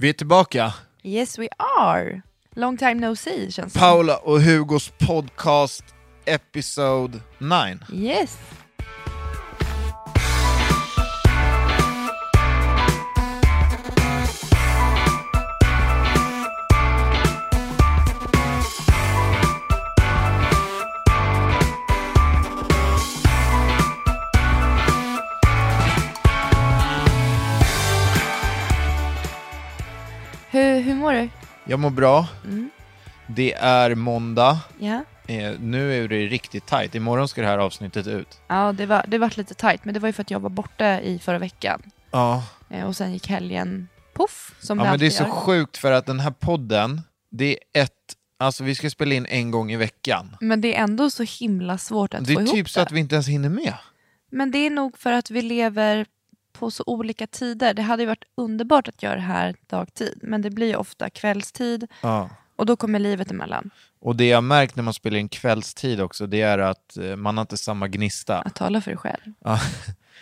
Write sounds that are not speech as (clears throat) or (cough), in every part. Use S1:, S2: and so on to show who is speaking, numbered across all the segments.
S1: Vi är tillbaka.
S2: Yes we are. Long time no see känns det
S1: Paula och Hugos podcast episode 9.
S2: som. Yes. Hur, hur mår du?
S1: Jag mår bra.
S2: Mm.
S1: Det är måndag.
S2: Ja.
S1: Eh, nu är det riktigt tajt. Imorgon ska det här avsnittet ut.
S2: Ja, det var det vart lite tajt, men det var ju för att jag var borta i förra veckan.
S1: Ja.
S2: Eh, Och sen gick helgen poff, som
S1: Ja,
S2: det
S1: men det är
S2: alltid
S1: så
S2: gör.
S1: sjukt för att den här podden, det är ett... Alltså vi ska spela in en gång i veckan.
S2: Men det är ändå så himla svårt att
S1: Det
S2: få
S1: är
S2: ihop
S1: typ så
S2: det.
S1: att vi inte ens hinner med.
S2: Men det är nog för att vi lever på så olika tider. Det hade ju varit underbart att göra det här dagtid, men det blir ju ofta kvällstid
S1: Ja.
S2: och då kommer livet emellan.
S1: Och det jag har märkt när man spelar in kvällstid också, det är att eh, man har inte samma gnista.
S2: Att tala för dig själv.
S1: Ja.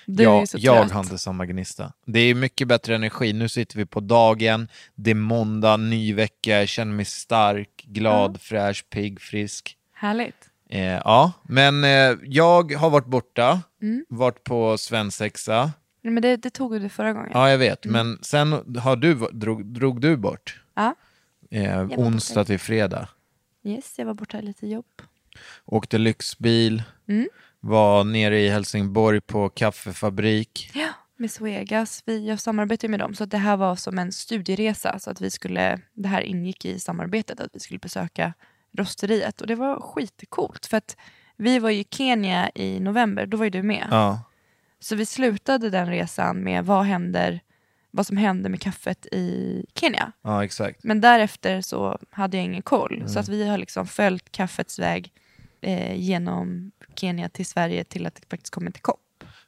S2: Du är
S1: ja,
S2: ju så
S1: jag
S2: trött.
S1: har inte samma gnista. Det är mycket bättre energi. Nu sitter vi på dagen, det är måndag, ny vecka, jag känner mig stark, glad, fräsch, pigg, frisk.
S2: Härligt.
S1: Eh, ja, men eh, jag har varit borta,
S2: Mm.
S1: varit på svensexa.
S2: Nej, Men det, det tog du förra gången.
S1: Ja, jag vet, men sen har du, drog, drog du bort
S2: Ja.
S1: eh,
S2: borta.
S1: onsdag till fredag.
S2: Yes, jag var borta i lite jobb.
S1: Åkte lyxbil,
S2: Mm.
S1: var nere i Helsingborg på kaffefabrik.
S2: Ja, med Svegas. Vi, jag samarbetade med dem, så att det här var som en studieresa. Så att vi skulle, det här ingick i samarbetet, att vi skulle besöka rosteriet. Och det var skitcoolt, för att vi var ju i Kenya i november, då var ju du med.
S1: Ja.
S2: Så vi slutade den resan med vad, händer, vad som hände med kaffet i Kenya.
S1: ja, exakt.
S2: Men därefter så hade jag ingen koll. Så att vi har liksom följt kaffets väg eh, genom Kenya till Sverige till att det faktiskt kommer till kopp.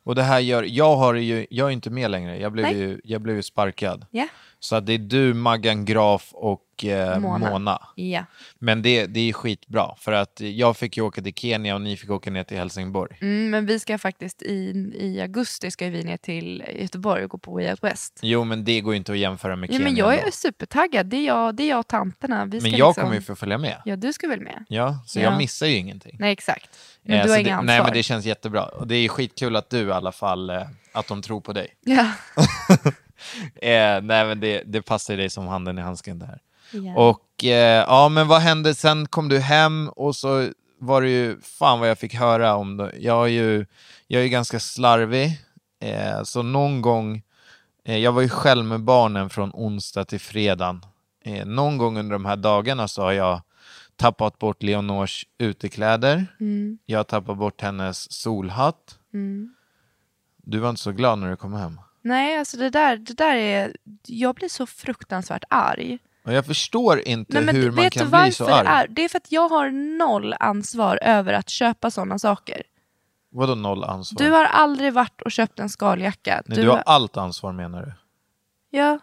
S1: Och det här gör, jag, har ju, jag är inte med längre, jag blev,
S2: Nej.
S1: ju, jag blev ju sparkad.
S2: Ja.
S1: Så att det är du, Maggan Graf och eh, Mona.
S2: Mona. Ja.
S1: Men det, det är skitbra, för att jag fick ju åka till Kenya och ni fick åka ner till Helsingborg.
S2: Mm, men vi ska faktiskt i, i augusti ska vi ner till Göteborg och gå på Way Out West.
S1: Jo, men det går ju inte att jämföra med
S2: Ja,
S1: Kenya.
S2: men jag
S1: ändå.
S2: är supertaggad. Det är jag, det är jag och tanterna. Vi ska
S1: men jag
S2: liksom...
S1: kommer ju få följa med.
S2: Ja, du ska väl med?
S1: Ja, så
S2: Ja.
S1: jag missar ju ingenting.
S2: Nej, exakt. Men
S1: Eh,
S2: du
S1: så
S2: har
S1: det,
S2: inga ansvar.
S1: Nej, men det känns jättebra. Och det är skitkul att du i alla fall, eh, att de tror på dig.
S2: Ja. (laughs)
S1: (laughs) Eh, nej, men det, det passar ju dig som handen i handsken det här.
S2: Ja.
S1: Och eh, ja, men vad hände? Sen kom du hem och så var det ju, fan vad jag fick höra om det. Jag är ju, jag är ju ganska slarvig, eh, så någon gång, eh, jag var ju själv med barnen från onsdag till fredag. Eh, någon gång under de här dagarna så har jag tappat bort Leonors utekläder. Jag har tappat bort hennes solhatt. Du var inte så glad när du kom hem.
S2: Nej, alltså det där, det där är... Jag blir så fruktansvärt arg.
S1: Och jag förstår inte
S2: Nej, men
S1: hur
S2: d-
S1: man
S2: vet du
S1: kan
S2: varför
S1: bli så arg.
S2: det är? Det är för att jag har noll ansvar över att köpa sådana saker.
S1: Vadå noll ansvar?
S2: Du har aldrig varit och köpt en skaljacka.
S1: Nej, du, har allt ansvar menar du?
S2: Ja.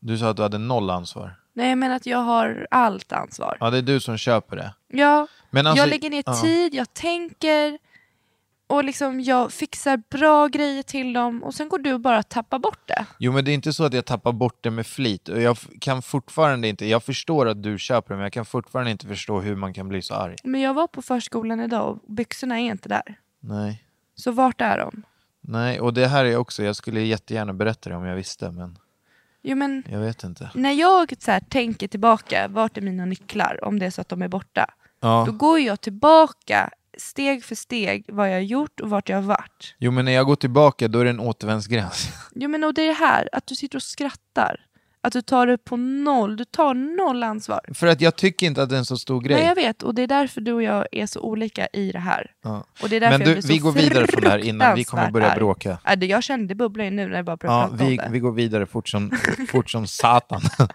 S1: Du sa att du hade noll ansvar.
S2: Nej, jag menar att jag har allt ansvar.
S1: Ja, det är du som köper det.
S2: Ja,
S1: Men alltså-
S2: jag lägger ner
S1: ja.
S2: tid, jag tänker och liksom jag fixar bra grejer till dem och sen går du och bara tappar bort det.
S1: Jo, men det är inte så att jag tappar bort det med flit. Och jag f- kan fortfarande inte, jag förstår att du köper det, men jag kan fortfarande inte förstå hur man kan bli så arg.
S2: Men jag var på förskolan idag och byxorna är inte där.
S1: Nej.
S2: Så vart är de?
S1: Nej, och det här är också, jag skulle jättegärna berätta det om jag visste, men
S2: Jo, men
S1: jag vet inte.
S2: när jag så här, tänker tillbaka, vart är mina nycklar? Om det är så att de är borta. Då
S1: Ja.
S2: går jag tillbaka steg för steg vad jag har gjort och vart jag har varit.
S1: Jo, men när jag går tillbaka då är det en återvändsgräns. (laughs)
S2: Jo men och det är det här, att du sitter och skrattar. Att du tar det på noll, du tar noll ansvar.
S1: För att jag tycker inte att det är en så stor grej.
S2: Nej jag vet, och det är därför du och jag är så olika i det här.
S1: Ja.
S2: Och det är därför
S1: Men
S2: jag
S1: du,
S2: blir så
S1: vi går vidare från det här innan vi kommer
S2: fruktansvärt
S1: börja
S2: arg.
S1: bråka.
S2: Ja, det- Jag kände det bubblar ju nu när jag bara
S1: Ja,
S2: pratar om
S1: vi,
S2: det.
S1: vi går vidare fort som, (laughs) fort som satan. (laughs)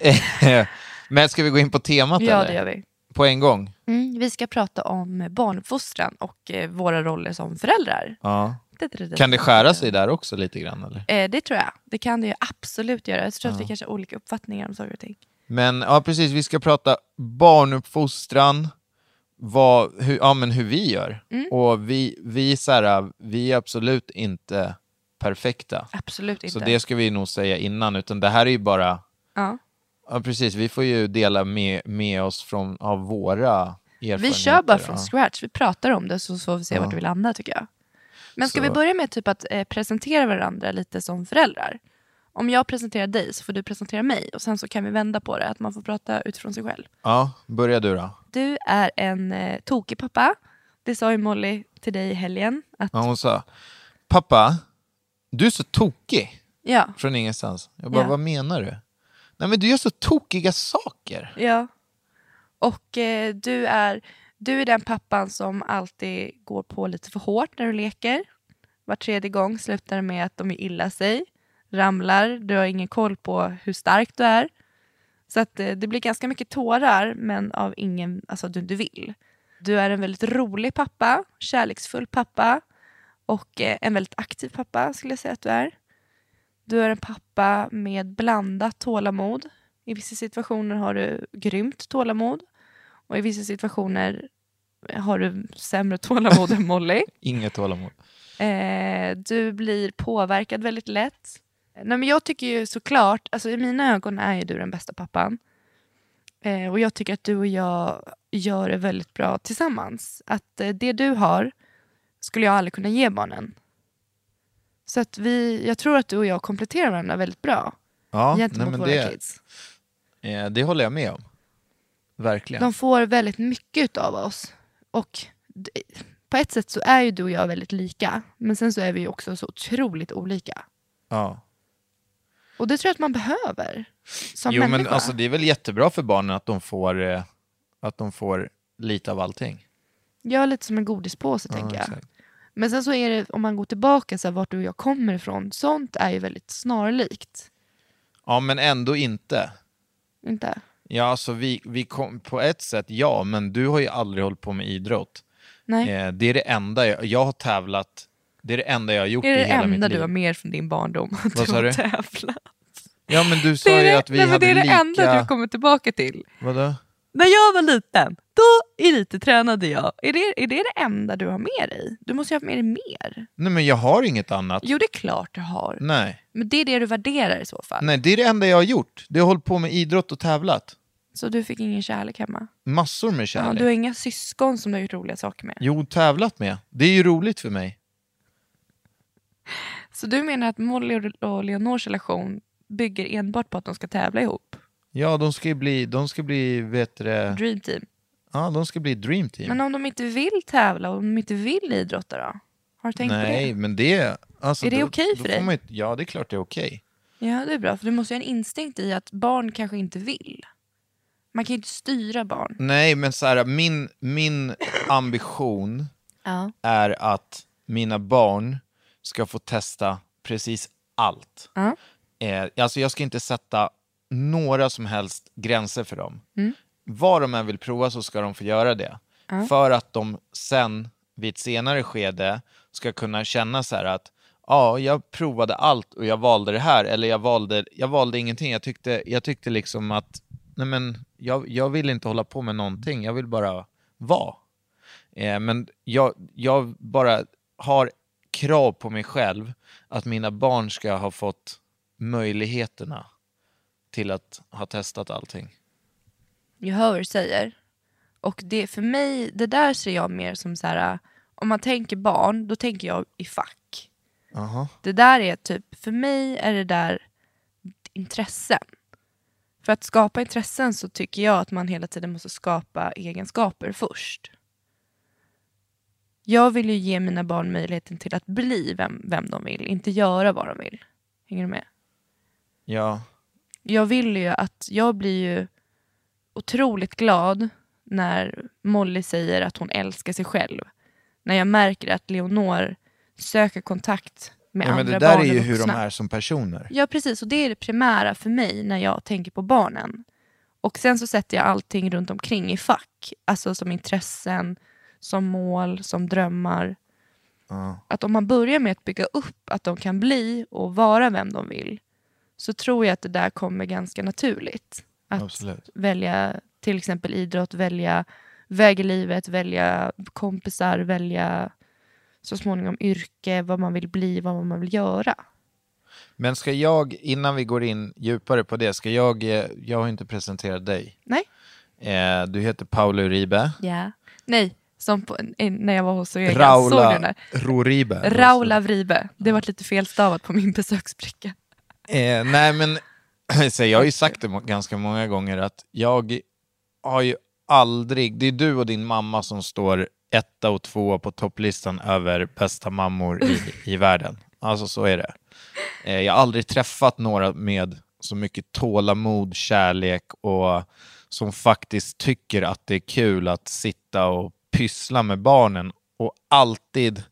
S1: Eh, men ska vi gå in på temat
S2: ja
S1: eller?
S2: det gör vi.
S1: På en gång?
S2: Mm, vi ska prata om barnuppfostran och eh, våra roller som föräldrar.
S1: Ja.
S2: Det- det- det-
S1: Kan det skära sig där också lite grann eller?
S2: Eh, det tror jag. Det kan det ju absolut göra. Jag tror att vi kanske har olika uppfattningar om saker och ting.
S1: Men ja, precis, vi ska prata barnuppfostran, vad, hur, ja, men hur vi gör.
S2: Mm.
S1: Och vi, vi, så här, vi är absolut inte perfekta.
S2: Absolut inte.
S1: Så det ska vi nog säga innan, utan det här är ju bara,
S2: ja.
S1: ja precis, vi får ju dela med, med oss från, av våra erfarenheter.
S2: Vi kör bara från
S1: ja.
S2: scratch. Vi pratar om det så så får vi se vart vi landar tycker jag. Men ska
S1: Så-
S2: vi börja med typ att eh, presentera varandra lite som föräldrar? Om jag presenterar dig så får du presentera mig och sen så kan vi vända på det, att man får prata utifrån sig själv.
S1: Ja, börja du då.
S2: Du är en eh, tokig pappa. Det sa ju Molly till dig i helgen. Att,
S1: Ja, hon sa, pappa, du är så tokig
S2: ja,
S1: från ingenstans. Jag bara,
S2: Ja.
S1: vad menar du? Nej men du gör så tokiga saker.
S2: ja. Och eh, du, är, du är den pappan som alltid går på lite för hårt när du leker. Var tredje gång slutar det med att de är illa sig, ramlar, du har ingen koll på hur stark du är. Så att eh, det blir ganska mycket tårar, men av ingen, alltså du, du vill. Du är en väldigt rolig pappa, kärleksfull pappa och eh, en väldigt aktiv pappa skulle jag säga att du är. Du är en pappa med blandat tålamod. I vissa situationer har du grymt tålamod och i vissa situationer har du sämre (laughs) tålamod än Molly.
S1: Inget tålamod.
S2: Eh, du blir påverkad väldigt lätt. Eh, Nej, men jag tycker ju såklart, alltså i mina ögon är ju du den bästa pappan. Eh, och jag tycker att du och jag gör det väldigt bra tillsammans. Att eh, det du har skulle jag aldrig kunna ge barnen. Så att vi, jag tror att du och jag kompletterar varandra väldigt bra
S1: Ja,
S2: gentemot våra
S1: det,
S2: kids.
S1: eh, det håller jag med om. Verkligen.
S2: De får väldigt mycket av oss. Och d- på ett sätt så är ju du och jag väldigt lika. Men sen så är vi ju också så otroligt olika.
S1: ja.
S2: Och det tror jag att man behöver som
S1: Jo,
S2: människa.
S1: men alltså, det är väl jättebra för barnen att de får, eh, att de får lite av allting.
S2: Jag är lite som en godispåse
S1: Ja,
S2: tänker jag.
S1: exakt.
S2: Men sen så är det, om man går tillbaka så här, vart du och jag kommer ifrån, sånt är ju väldigt snarlikt.
S1: Ja, men ändå inte.
S2: Inte?
S1: Ja, alltså, vi, vi kom, på ett sätt, ja, men du har ju aldrig hållit på med idrott.
S2: Nej.
S1: Eh, det är det enda jag, jag har tävlat, det är det enda jag har gjort
S2: det är
S1: i
S2: det
S1: hela
S2: enda
S1: mitt
S2: du
S1: liv.
S2: har med från din barndom. (laughs) Att
S1: Vad
S2: du
S1: sa
S2: har
S1: du?
S2: tävlat.
S1: Ja, men du sa
S2: Det är
S1: ju
S2: det-
S1: att vi
S2: nej, men
S1: hade
S2: det är det
S1: lika...
S2: enda du kommer tillbaka till.
S1: Vadå?
S2: När jag var liten, då elitränade jag. Är det, är det det enda du har med dig? Du måste ju ha med dig mer.
S1: Nej, men jag har inget annat.
S2: Jo, det är klart du har.
S1: Nej.
S2: Men det är det du värderar i så fall.
S1: Nej, det är det enda jag har gjort. Det har hållit på med idrott och tävlat.
S2: Så du fick ingen kärlek hemma?
S1: Massor med kärlek.
S2: Ja, du har inga syskon som du har gjort roliga saker med?
S1: Jo, tävlat med. Det är ju roligt för mig.
S2: Så du menar att Molly och- och Leonors relation bygger enbart på att de ska tävla ihop?
S1: Ja, de ska ju bli, de ska bli, vet du det,
S2: Dream team.
S1: ja, de ska bli dream team.
S2: Men om de inte vill tävla och om de inte vill idrotta då? Har du tänkt
S1: Nej,
S2: på
S1: men det, alltså,
S2: Är det
S1: då-
S2: okej
S1: då
S2: för
S1: får
S2: dig?
S1: man ju- ja, det är klart det är okej.
S2: det? Ja, det är bra. För du måste ju ha en instinkt i att barn kanske inte vill. Man kan ju inte styra barn.
S1: Nej, men så här, min, min ambition
S2: Ja.
S1: är att mina barn ska få testa precis allt.
S2: Ja.
S1: Eh, alltså jag ska inte sätta några som helst gränser för dem. Vad de än vill prova så ska de få göra det. För att de sen, vid ett senare skede, ska kunna känna så här att ja, jag provade allt och jag valde det här. Eller jag valde, jag valde ingenting. Jag tyckte, jag tyckte liksom att nej men, jag, jag vill inte hålla på med någonting. Jag vill bara vara. Eh, men jag, jag bara har krav på mig själv att mina barn ska ha fått möjligheterna till att ha testat allting.
S2: Jag hör vad du säger. Och det, för mig, det där ser jag mer som så här, äh, om man tänker barn, då tänker jag i fack.
S1: Aha.
S2: Det där är typ, för mig är det där intressen. För att skapa intressen så tycker jag att man hela tiden måste skapa egenskaper först. Jag vill ju ge mina barn möjligheten till att bli vem, vem de vill, inte göra vad de vill. Hänger du med?
S1: Ja.
S2: jag vill ju att, jag blir ju otroligt glad när Molly säger att hon älskar sig själv. När jag märker att Leonor söker kontakt med
S1: ja men
S2: andra
S1: det där
S2: barn
S1: är ju
S2: och
S1: hur de
S2: vuxna.
S1: är som personer.
S2: Ja precis, och det är det primära för mig när jag tänker på barnen. Och sen så sätter jag allting runt omkring i fack. Alltså som intressen, som mål, som drömmar.
S1: Ja.
S2: Att om man börjar med att bygga upp att de kan bli och vara vem de vill så tror jag att det där kommer ganska naturligt. Att
S1: Absolut.
S2: välja till exempel idrott, välja väg i livet, välja kompisar, välja så småningom yrke, vad man vill bli, vad man vill göra.
S1: Men ska jag, innan vi går in djupare på det, ska jag, eh, jag har inte presenterat dig.
S2: Nej?
S1: Eh, du heter Paolo Uribe.
S2: Ja. Nej, som på, eh, när jag var hos Orega. Såg du den
S1: Raula
S2: där?
S1: Roribe.
S2: Raula Vribe. Det var lite felstavat på min (laughs) besöksbricka.
S1: Eh, nej men, (clears throat) så jag har ju sagt det må- ganska många gånger att jag har ju aldrig, det är du och din mamma som står etta och tvåa på topplistan över bästa mammor i, i världen. Alltså så är det. Eh, jag har aldrig träffat några med så mycket tålamod, kärlek och som faktiskt tycker att det är kul att sitta och pyssla med barnen och alltid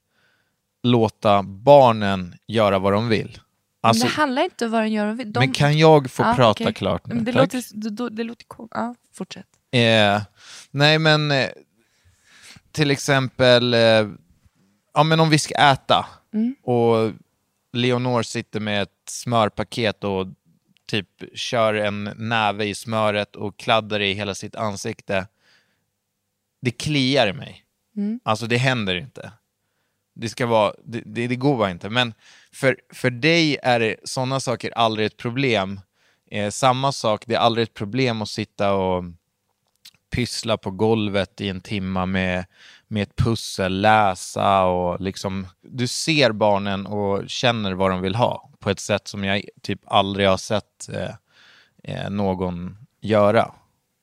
S1: låta barnen göra vad de vill. Alltså,
S2: Men det handlar inte om vad den gör. och vill. De...
S1: men kan jag få
S2: Ja,
S1: prata
S2: okej.
S1: klart nu?
S2: Men Det
S1: tack?
S2: låter, det, då- det låter kon- ja, fortsätt.
S1: Eh, nej, men eh, till exempel, eh, ja, men om vi ska äta och Leonor sitter med ett smörpaket och typ kör en näve i smöret och kladdar i hela sitt ansikte. Det kliar i mig. Alltså det händer inte. Det, ska vara, det, det, det går bara inte. Men för, för dig är det- sådana saker aldrig ett problem. Eh, samma sak, det är aldrig ett problem att sitta och pyssla på golvet i en timma med, med ett pussel, läsa och liksom... Du ser barnen och känner vad de vill ha på ett sätt som jag typ aldrig har sett eh, eh, någon göra.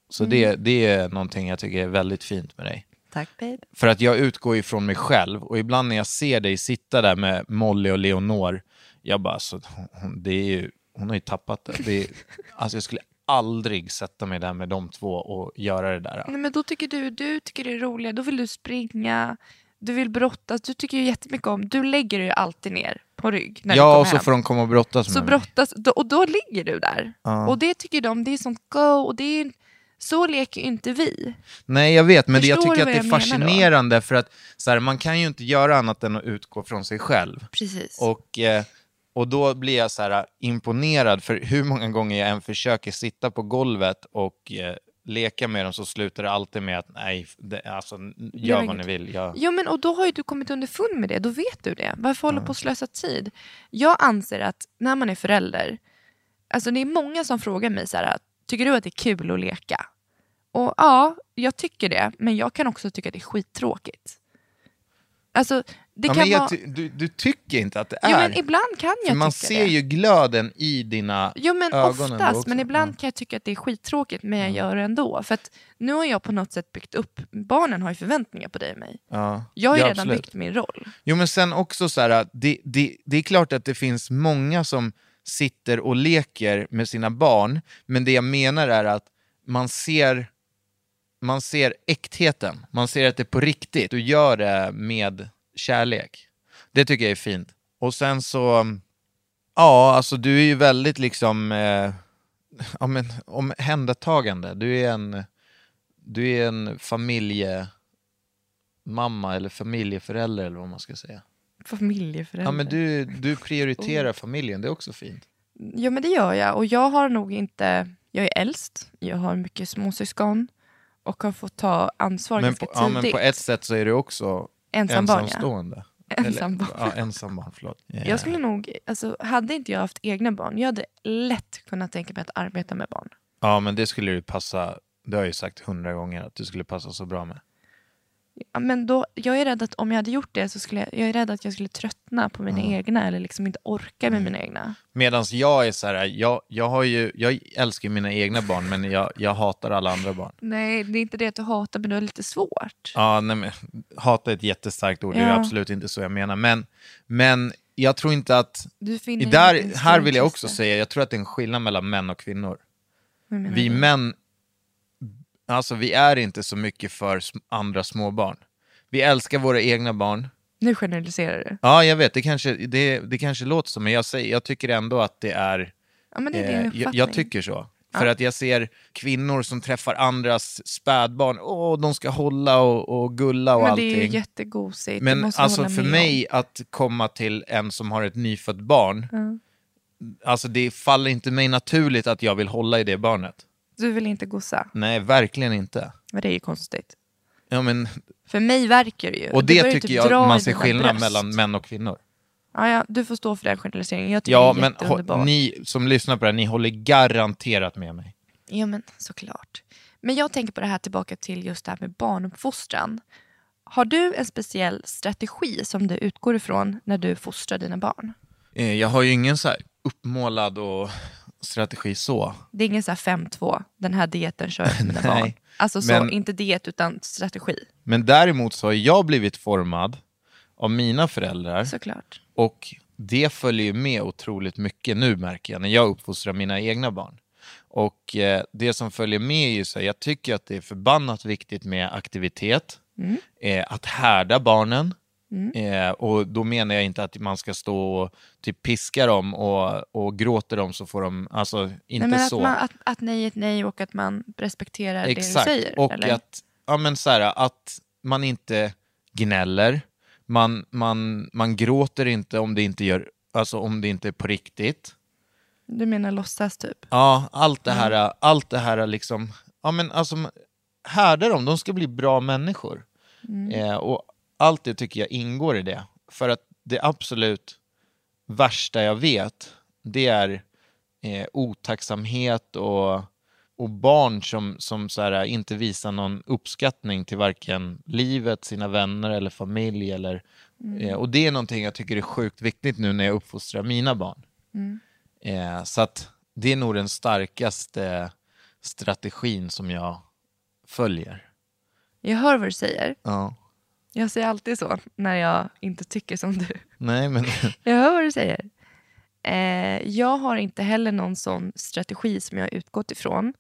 S1: Så det, det är någonting jag tycker är väldigt fint med dig.
S2: Tack babe.
S1: För att jag utgår ifrån mig själv och ibland när jag ser dig sitta där med Molly och Leonor, jag bara, så, hon, det är ju, hon har ju tappat det. det är, alltså jag skulle aldrig sätta mig där med de två och göra det där.
S2: Nej, men då tycker du, du tycker det är roligare, då vill du springa, du vill brottas, du tycker ju jättemycket om, du lägger dig ju alltid ner på rygg när du
S1: ja,
S2: kommer
S1: och så
S2: hem.
S1: får de komma och brottas
S2: så
S1: med mig.
S2: brottas, då, och då ligger du där. Och det tycker de, det är sånt go, och det är, så leker ju inte vi.
S1: Nej, jag vet, men det, jag
S2: Förstår
S1: tycker
S2: du
S1: att det är
S2: vad jag menar då?
S1: fascinerande för att så här, man kan ju inte göra annat än att utgå från sig själv.
S2: Precis.
S1: Och, eh, och då blir jag så här eh, imponerad, för hur många gånger jag än försöker sitta på golvet och eh, leka med dem så slutar det alltid med att nej, det, alltså, gör
S2: var
S1: vad ni
S2: inget.
S1: vill. Jag...
S2: Jo, men och då har ju du kommit underfund med det. Då vet du det. Varför hålla på och slösa tid? Jag anser att när man är förälder, alltså det är många som frågar mig så här, tycker du att det är kul att leka? Och ja, jag tycker det, men jag kan också tycka att det är skittråkigt. Alltså, det
S1: Ja,
S2: kan
S1: men jag
S2: vara...
S1: ty- du, du tycker inte att det
S2: Jo,
S1: är?
S2: men ibland kan
S1: för
S2: jag
S1: man
S2: tycka
S1: ser
S2: det.
S1: ju glöden i dina
S2: Jo men
S1: ögon ändå
S2: oftast,
S1: också.
S2: men ibland
S1: Ja.
S2: kan jag tycka att det är skittråkigt men jag gör det ändå. För att nu har jag på något sätt byggt upp, barnen har ju förväntningar på dig och mig.
S1: Ja.
S2: Jag har ju
S1: Ja,
S2: redan
S1: absolut.
S2: byggt min roll.
S1: Jo, men sen också så här, det, det, det är klart att det finns många som sitter och leker med sina barn, men det jag menar är att man ser, man ser äktheten. Man ser att det är på riktigt. Du gör det med kärlek. Det tycker jag är fint. Och sen så, ja, alltså du är ju väldigt liksom eh, ja, men, omhändertagande. Du är en, du är en familje mamma eller familjeförälder eller vad man ska säga.
S2: Familjeförälder.
S1: Ja, men du, du
S2: Oh.
S1: prioriterar familjen, det är också fint.
S2: Jo men det gör jag och jag har nog inte, jag är äldst, jag har mycket småsyskon och har fått ta ansvar
S1: Men
S2: ganska
S1: på, ja, men
S2: tidigt.
S1: på ett sätt så är du också
S2: Ensambarn, ja. (laughs)
S1: ensamstående.
S2: Ensambarn.
S1: Eller, ja, ensambarn, förlåt. Eh,
S2: (laughs) Jag skulle nog, alltså hade inte jag haft egna barn, jag hade lätt kunnat tänka mig att arbeta med barn.
S1: Ja, men det skulle du passa, det har jag ju sagt hundra gånger att du skulle passa så bra med.
S2: Ja, men då, jag är rädd att om jag hade gjort det så skulle jag, jag är rädd att jag skulle tröttna på mina egna eller liksom inte orka med mina egna.
S1: Medan jag är så här, jag, jag, har ju, jag älskar ju mina egna barn, men jag, jag hatar alla andra barn.
S2: Nej, det är inte det att du hatar, men du har lite svårt.
S1: Ja, nej, men, hata är ett jättestarkt ord, det är
S2: Ja.
S1: absolut inte så jag menar. Men, men jag tror inte att...
S2: Du
S1: I
S2: finner
S1: där,
S2: ingen
S1: här vill jag också
S2: styrkelse.
S1: säga, jag tror att det är en skillnad mellan män och kvinnor.
S2: Vad menar
S1: Vi
S2: du?
S1: män, alltså vi är inte så mycket för sm- andra småbarn. Vi älskar våra egna barn.
S2: Nu generaliserar du.
S1: Ja, jag vet, det kanske, det, det kanske låter så, men jag, säger, jag tycker ändå att det är...
S2: Ja, men det är din
S1: Eh,
S2: uppfattning.
S1: jag, jag tycker så. För att jag ser kvinnor som träffar andras spädbarn, åh, de ska hålla och, och gulla och
S2: men det
S1: allting.
S2: är ju jättegosigt. det
S1: Men
S2: måste jag
S1: alltså
S2: hålla
S1: för
S2: med
S1: mig att komma till en som har ett nyfött barn, alltså det faller inte mig naturligt att jag vill hålla i det barnet.
S2: om. Du vill inte gossa.
S1: Nej, verkligen inte.
S2: Men det är ju konstigt.
S1: Ja, men,
S2: För mig verkar det ju.
S1: och
S2: Du
S1: det
S2: börjar ju
S1: tycker
S2: typ
S1: jag
S2: dra i
S1: man ser
S2: dina
S1: skillnad
S2: bröst.
S1: mellan män och kvinnor.
S2: Ja, ja, du får stå för den generaliseringen. Jag tycker
S1: Ja,
S2: det är
S1: men
S2: jätteunderbart.
S1: hå- ni som lyssnar på det här, ni håller garanterat med mig.
S2: Ja men såklart. Men jag tänker på det här tillbaka till just det här med barnuppfostran. Har du en speciell strategi som du utgår ifrån när du fostrar dina barn?
S1: Eh, Jag har ju ingen så här uppmålad och strategi så.
S2: Det är ingen så här 5-2, den här dieten kör jag för mina
S1: (laughs) Nej,
S2: barn. Alltså så,
S1: men-
S2: inte diet utan strategi.
S1: Men däremot så har jag blivit formad av mina föräldrar.
S2: Såklart.
S1: Och det följer ju med otroligt mycket nu märker jag när jag uppfostrar mina egna barn. Och eh, det som följer med är ju så här, jag tycker att det är förbannat viktigt med aktivitet,
S2: Mm.
S1: eh, att härda barnen. Eh, och då menar jag inte att man ska stå och typ piska dem och, och gråter dem så får de, alltså inte
S2: Nej, men att,
S1: så.
S2: man, att, att nej är ett nej och att man respekterar
S1: Exakt.
S2: det du säger.
S1: och
S2: eller?
S1: att, ja, men så här, att man inte gnäller, man, man, man gråter inte om det inte, gör, alltså om det inte är på riktigt.
S2: Du menar låtsas typ?
S1: Ja, allt det här, allt det här liksom, ja men alltså härda dem, de ska bli bra människor. Eh, och allt det tycker jag ingår i det. För att det absolut värsta jag vet, det är eh, otacksamhet och, och barn som, som så här, inte visar någon uppskattning till varken livet, sina vänner eller familj. Eller, eh, och det är någonting jag tycker är sjukt viktigt nu när jag uppfostrar mina barn. Eh, så att det är nog den starkaste strategin som jag följer.
S2: Jag hör vad du säger.
S1: Ja.
S2: Jag säger alltid så när jag inte tycker som du.
S1: Nej, men
S2: Jag hör vad du säger. Eh, jag har inte heller någon sån strategi som jag har utgått ifrån.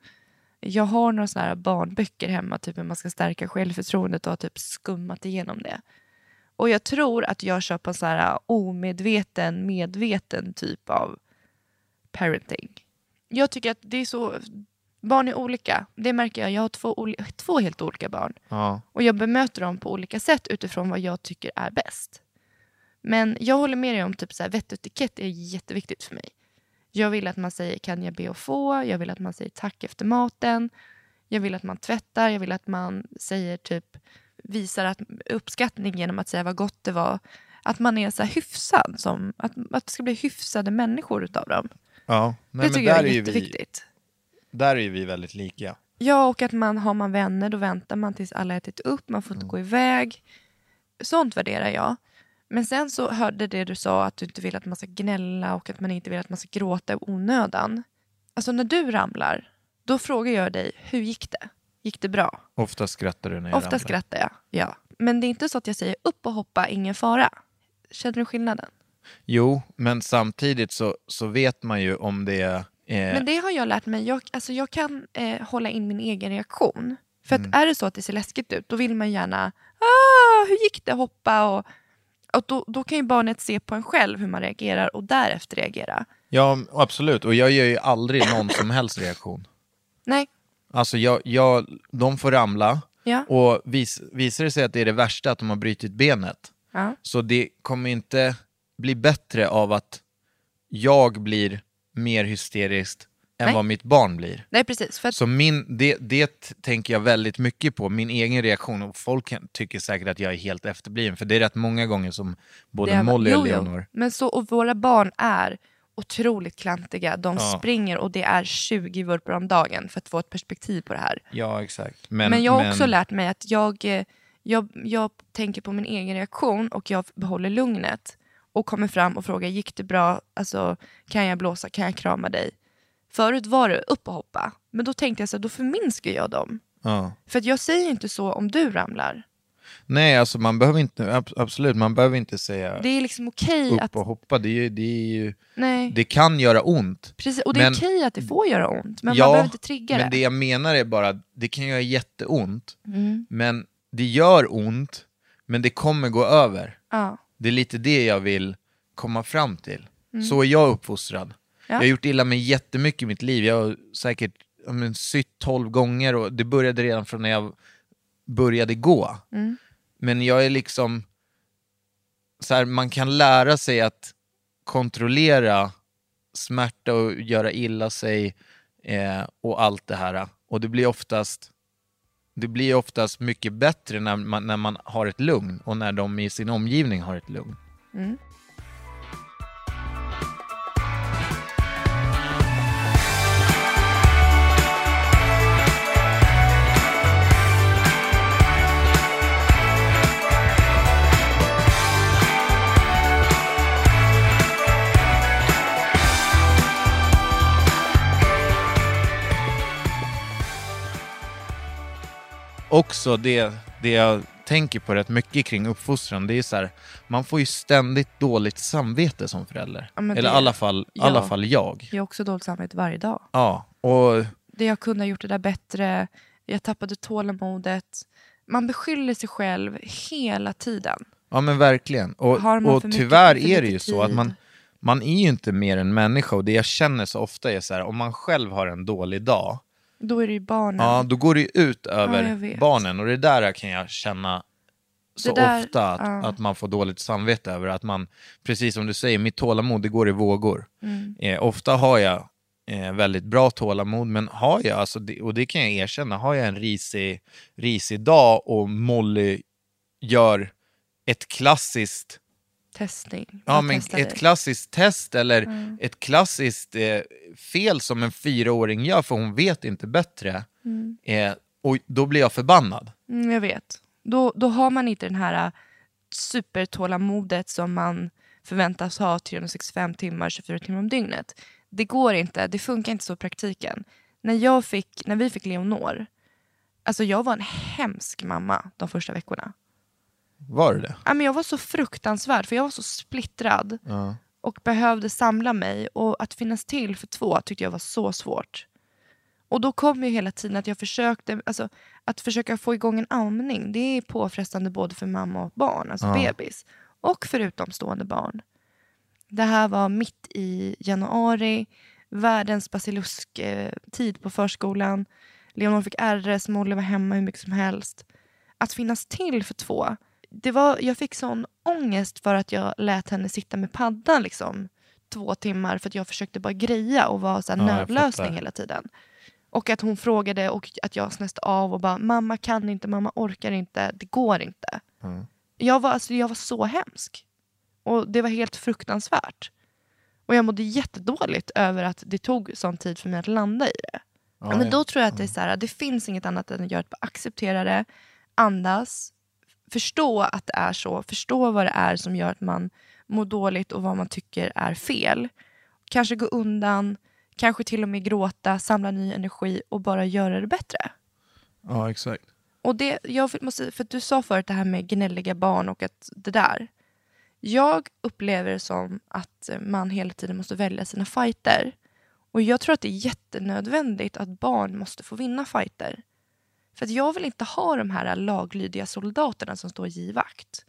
S2: Jag har några såna här barnböcker hemma, typ hur man ska stärka självförtroendet och har typ skummat igenom det. Och jag tror att jag kör på en sån här omedveten, medveten typ av parenting. Jag tycker att det är så, barn är olika. Det märker jag, jag har två, oli- två helt olika barn.
S1: (laughs) ja.
S2: Och jag bemöter dem på olika sätt utifrån vad jag tycker är bäst. Men jag håller med dig om typ så här, vett och etikett är jätteviktigt för mig. Jag vill att man säger kan jag be att få? Jag vill att man säger tack efter maten. Jag vill att man tvättar. Jag vill att man säger typ visar att uppskattning genom att säga vad gott det var. Att man är så här hyfsad, som, att, att det ska bli hyfsade människor utav dem.
S1: ja. Nej,
S2: det
S1: men
S2: tycker jag är,
S1: ju vi,
S2: jätteviktigt.
S1: där är ju vi väldigt lika.
S2: Ja, och att man har man vänner då väntar man tills alla ätit upp, man får inte
S1: Mm.
S2: gå iväg. Sånt värderar jag. Men sen så hörde det du sa att du inte vill att man ska gnälla och att man inte vill att man ska gråta i onödan. Alltså när du ramlar, då frågar jag dig, hur gick det? Gick det bra?
S1: Ofta skrattar du när jag
S2: Ofta
S1: ramlar.
S2: skrattar jag, ja. Men det är inte så att jag säger upp och hoppa, ingen fara. Känner du skillnaden?
S1: Jo, men samtidigt så, så vet man ju om det är... Eh,
S2: Men det har jag lärt mig. Jag, alltså jag kan eh, hålla in min egen reaktion. För att
S1: Mm.
S2: är det så att det ser läskigt ut, då vill man gärna ah, hur gick det, hoppa och, och då, då kan ju barnet se på en själv hur man reagerar och därefter reagera.
S1: Ja, absolut. Och jag gör ju aldrig någon som helst reaktion.
S2: Nej,
S1: Alltså, jag, jag, de får ramla.
S2: Ja.
S1: Och vis, visar det sig att det är det värsta, att de har brutit benet,
S2: ja.
S1: Så det kommer inte bli bättre av att jag blir mer hysteriskt än
S2: Nej.
S1: vad mitt barn blir.
S2: Nej precis. För att,
S1: Så min, det, det tänker jag väldigt mycket på, min egen reaktion. Och folk kan, tycker säkert att jag är helt efterbliven, för det är rätt många gånger som både
S2: det är-
S1: Molly och
S2: jo, jo.
S1: Leonor...
S2: Men så, och våra barn är otroligt klantiga. De
S1: Ja.
S2: springer och det är 20 vurpor om dagen för att få ett perspektiv på det här.
S1: Ja, exakt.
S2: Men, jag har också lärt mig att jag, eh, jag, jag tänker på min egen reaktion och jag behåller lugnet och kommer fram och frågar gick det bra, alltså, kan jag blåsa, kan jag krama dig? Förut var det upp och hoppa, men då tänkte jag så här, då förminskar jag dem.
S1: Ja.
S2: För att jag säger inte så om du ramlar.
S1: Nej, alltså man behöver inte, ab- absolut, man behöver inte säga
S2: Det är liksom okej att...
S1: upp och hoppa. Det, är, ju- det, är ju,
S2: Nej,
S1: det kan göra ont.
S2: precis, och det är
S1: men-
S2: okej att det får göra ont, men
S1: Ja,
S2: man behöver inte trigga
S1: Men
S2: det.
S1: det jag menar är bara, att det kan göra jätteont.
S2: Mm.
S1: Men det gör ont, men det kommer gå över.
S2: Ja.
S1: Det är lite det jag vill komma fram till. Så är jag uppfostrad. Jag har gjort illa mig jättemycket i mitt liv. Jag har säkert ja, men, sytt tolv gånger och det började redan från när jag började gå. Men jag är liksom, så här, man kan lära sig att kontrollera smärta och göra illa sig eh, och allt det här. Och det blir oftast det blir oftast mycket bättre när man, när man har ett lugn och när de i sin omgivning har ett lugn. Också det, det jag tänker på rätt mycket kring uppfostran, det är så här, man får ju ständigt dåligt samvete som förälder.
S2: men
S1: Eller i
S2: det-
S1: alla fall,
S2: ja.
S1: alla fall jag.
S2: Jag har också dåligt samvete varje dag.
S1: Ja, och
S2: Det jag kunde ha gjort det där bättre, jag tappade tålamodet. Man beskyller sig själv hela tiden.
S1: Ja men verkligen. Och,
S2: Har man
S1: och
S2: för mycket-
S1: tyvärr
S2: för
S1: är det
S2: lite
S1: ju så att
S2: tid?
S1: man, man är ju inte mer än människa och det jag känner så ofta är så här, om man själv har en dålig dag,
S2: Då är det ju barnen.
S1: ja, då går det ju ut
S2: Ja,
S1: över
S2: jag vet.
S1: barnen och det där kan jag känna så
S2: Det där-
S1: ofta att,
S2: ja.
S1: att man får dåligt samvete över att man, precis som du säger, mitt tålamod det går i vågor.
S2: Mm.
S1: Eh, ofta har jag eh, väldigt bra tålamod, men har jag, alltså det, och det kan jag erkänna, har jag en risig, risig dag och Molly gör ett klassiskt
S2: Testning.
S1: Ja,
S2: Jag
S1: men
S2: testar Mm.
S1: ett
S2: dig.
S1: klassiskt test eller ett klassiskt eh, fel som en fyraåring gör för hon vet inte bättre. Eh, och då blir jag förbannad.
S2: Mm, jag vet. Då, då har man inte den här äh, supertålamodet som man förväntas ha 365 timmar, 24 timmar om dygnet. Det går inte, det funkar inte så i praktiken. När, jag fick, när vi fick Leonor, alltså jag var en hemsk mamma de första veckorna.
S1: Var det det?
S2: Ja, men jag var så fruktansvärd, för jag var så splittrad och behövde samla mig. Och att finnas till för två tyckte jag var så svårt. Och då kom ju hela tiden att jag försökte, alltså, att försöka få igång en amning, det är påfrestande både för mamma och barn, alltså bebis, och för utomstående barn. Det här var mitt i januari, världens basilusk-tid på förskolan. Leonor fick RS, Molly var hemma hur mycket som helst. Att finnas till för två, det var, jag fick sån ångest för att jag lät henne sitta med paddan liksom, två timmar för att jag försökte bara greja och vara så här
S1: Ja, jag
S2: nödlösning
S1: fattar.
S2: hela tiden. Och att hon frågade och att jag snäste av och bara mamma kan inte, mamma orkar inte, det går inte. Jag, var, alltså, jag var så hemsk. Och det var helt fruktansvärt. Och jag mådde jättedåligt över att det tog sån tid för mig att landa i det. men då tror jag att det är så här, det finns inget annat än att göra att bara acceptera det, andas, förstå att det är så, förstå vad det är som gör att man mår dåligt och vad man tycker är fel. Kanske gå undan, kanske till och med gråta, samla ny energi och bara göra det bättre.
S1: Ja, exakt.
S2: Och det, jag vill- måste, för att du sa förut det här med gnälliga barn och att det där. Jag upplever det som att man hela tiden måste välja sina fighter. Och jag tror att det är jättenödvändigt att barn måste få vinna fighter. För att jag vill inte ha de här laglydiga soldaterna som står givakt.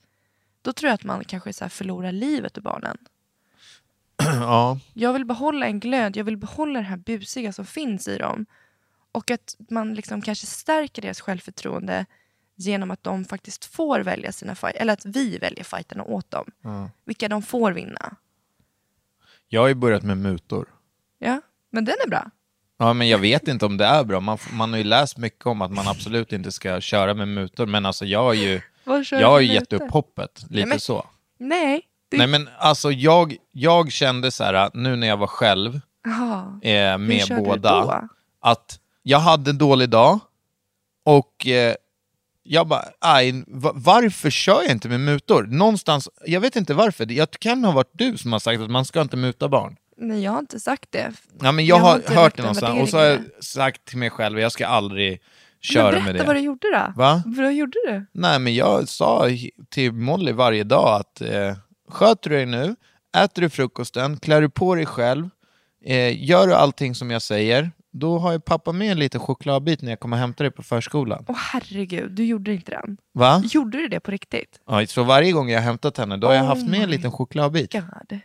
S2: Då tror jag att man kanske så här förlorar livet ur barnen.
S1: (clears throat) ja,
S2: Jag vill behålla en glöd, jag vill behålla det här busiga som finns i dem. Och att man liksom kanske stärker deras självförtroende genom att de faktiskt får välja sina fight, eller att vi väljer fighterna åt dem. Vilka de får vinna.
S1: jag har ju börjat med mutor.
S2: Ja, men den är bra.
S1: Ja, men jag vet inte om det är bra. Man, f- man har ju läst mycket om att
S2: (laughs)
S1: man absolut inte ska köra med mutor, men alltså jag har ju,
S2: Vad kör
S1: jag har
S2: du
S1: ju
S2: för
S1: gett
S2: mutor?
S1: upp hoppet, lite
S2: men-
S1: så.
S2: Nej. Det...
S1: Nej, men alltså jag, jag kände så här, nu när jag var själv,
S2: Ja.
S1: eh, med
S2: körde du
S1: båda.
S2: då?
S1: Att jag hade en dålig dag och eh, jag bara, aj, va- varför kör jag inte med mutor? Någonstans, jag vet inte varför, jag kan ha varit du som har sagt att man ska inte muta barn.
S2: Nej, jag har inte sagt det.
S1: Ja, men jag,
S2: Jag har
S1: har
S2: inte
S1: hört
S2: lagt
S1: det
S2: den
S1: någonstans och så har jag
S2: värderingen.
S1: sagt till mig själv, jag ska aldrig
S2: Men
S1: köra
S2: berätta
S1: med det.
S2: vad du gjorde då.
S1: Va?
S2: Vad gjorde du?
S1: Nej, men jag sa he- till Molly varje dag att eh, sköter du dig nu, äter du frukosten, klär du på dig själv, eh, gör du allting som jag säger, då har ju pappa med en liten chokladbit när jag kommer och hämtar dig på förskolan.
S2: Åh herregud, du gjorde inte den.
S1: Va?
S2: Gjorde du det på riktigt?
S1: Ja, så varje gång jag har hämtat henne, då har jag haft med en liten chokladbit.
S2: God.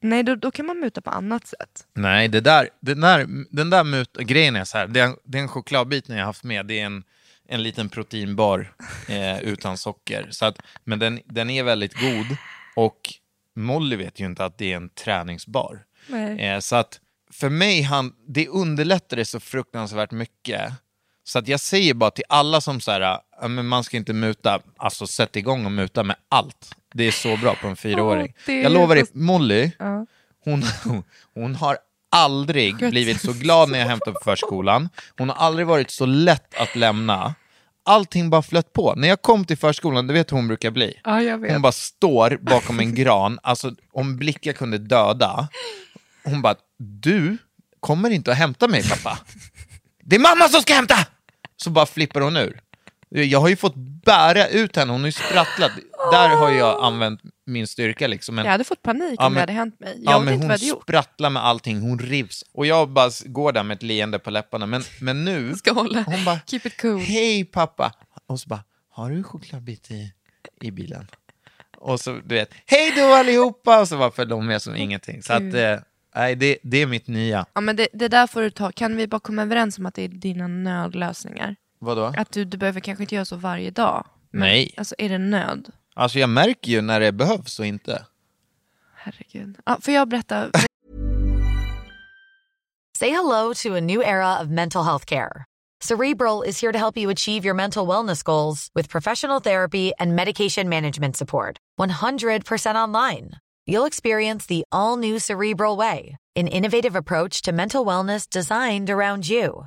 S2: Nej, då, då kan man muta på annat sätt.
S1: Nej, det där, den där, den där mut, grejen är så här, den, den chokladbiten jag har haft med, det är en, en liten proteinbar eh, utan socker. Så att, men den, den är väldigt god och Molly vet ju inte att det är en träningsbar.
S2: Nej.
S1: Eh, så att för mig, han, det underlättar det så fruktansvärt mycket. Så att jag säger bara till alla som så här, "Ja, men man ska inte muta, alltså sätt igång och muta med allt. Det är så bra på en fyraåring.
S2: det är
S1: jag lovar dig,
S2: så-
S1: Molly,
S2: Ja.
S1: hon, hon har aldrig blivit så glad när jag hämtar på förskolan. Hon har aldrig varit så lätt att lämna. Allting bara flöt på. När jag kom till förskolan, du vet hur hon brukar bli.
S2: Ja, jag vet.
S1: Hon bara står bakom en gran, alltså om blickar kunde döda. Hon bara, du kommer inte att hämta mig pappa. Det är mamma som ska hämta! Så bara flippar hon ur. Jag har ju fått bära ut henne, hon har ju sprattlat. Där har jag använt min styrka liksom. Men
S2: Jag hade fått panik
S1: Ja,
S2: om
S1: men-
S2: det hade hänt mig. Jag
S1: Ja,
S2: vet
S1: men
S2: inte
S1: hon
S2: vad jag hade gjort.
S1: sprattlar med allting, hon rivs. Och jag bara s- går där med ett leende på läpparna. Men, men nu,
S2: (laughs) Ska hålla.
S1: hon bara,
S2: Keep it cool.
S1: hej pappa. Och så bara, har du en chokladbit i, i bilen? Och så, du vet, hej då allihopa! Och så bara följde hon med som ingenting. Så att, eh, nej, det, det är mitt nya.
S2: Ja, men det, det där får du ta. Kan vi bara komma överens om att det är dina nödlösningar?
S1: Vadå?
S2: Att du, du behöver kanske inte göra så varje dag. Men,
S1: Nej.
S2: Alltså är det nöd?
S1: Alltså jag märker ju när det behövs och inte.
S2: Herregud. Ja, får jag berätta? (laughs)
S3: Say hello to a new era of mental health care. Cerebral is here to help you achieve your mental wellness goals with professional therapy and medication management support. 100% online. You'll experience the all new Cerebral Way, an innovative approach to mental wellness designed around you.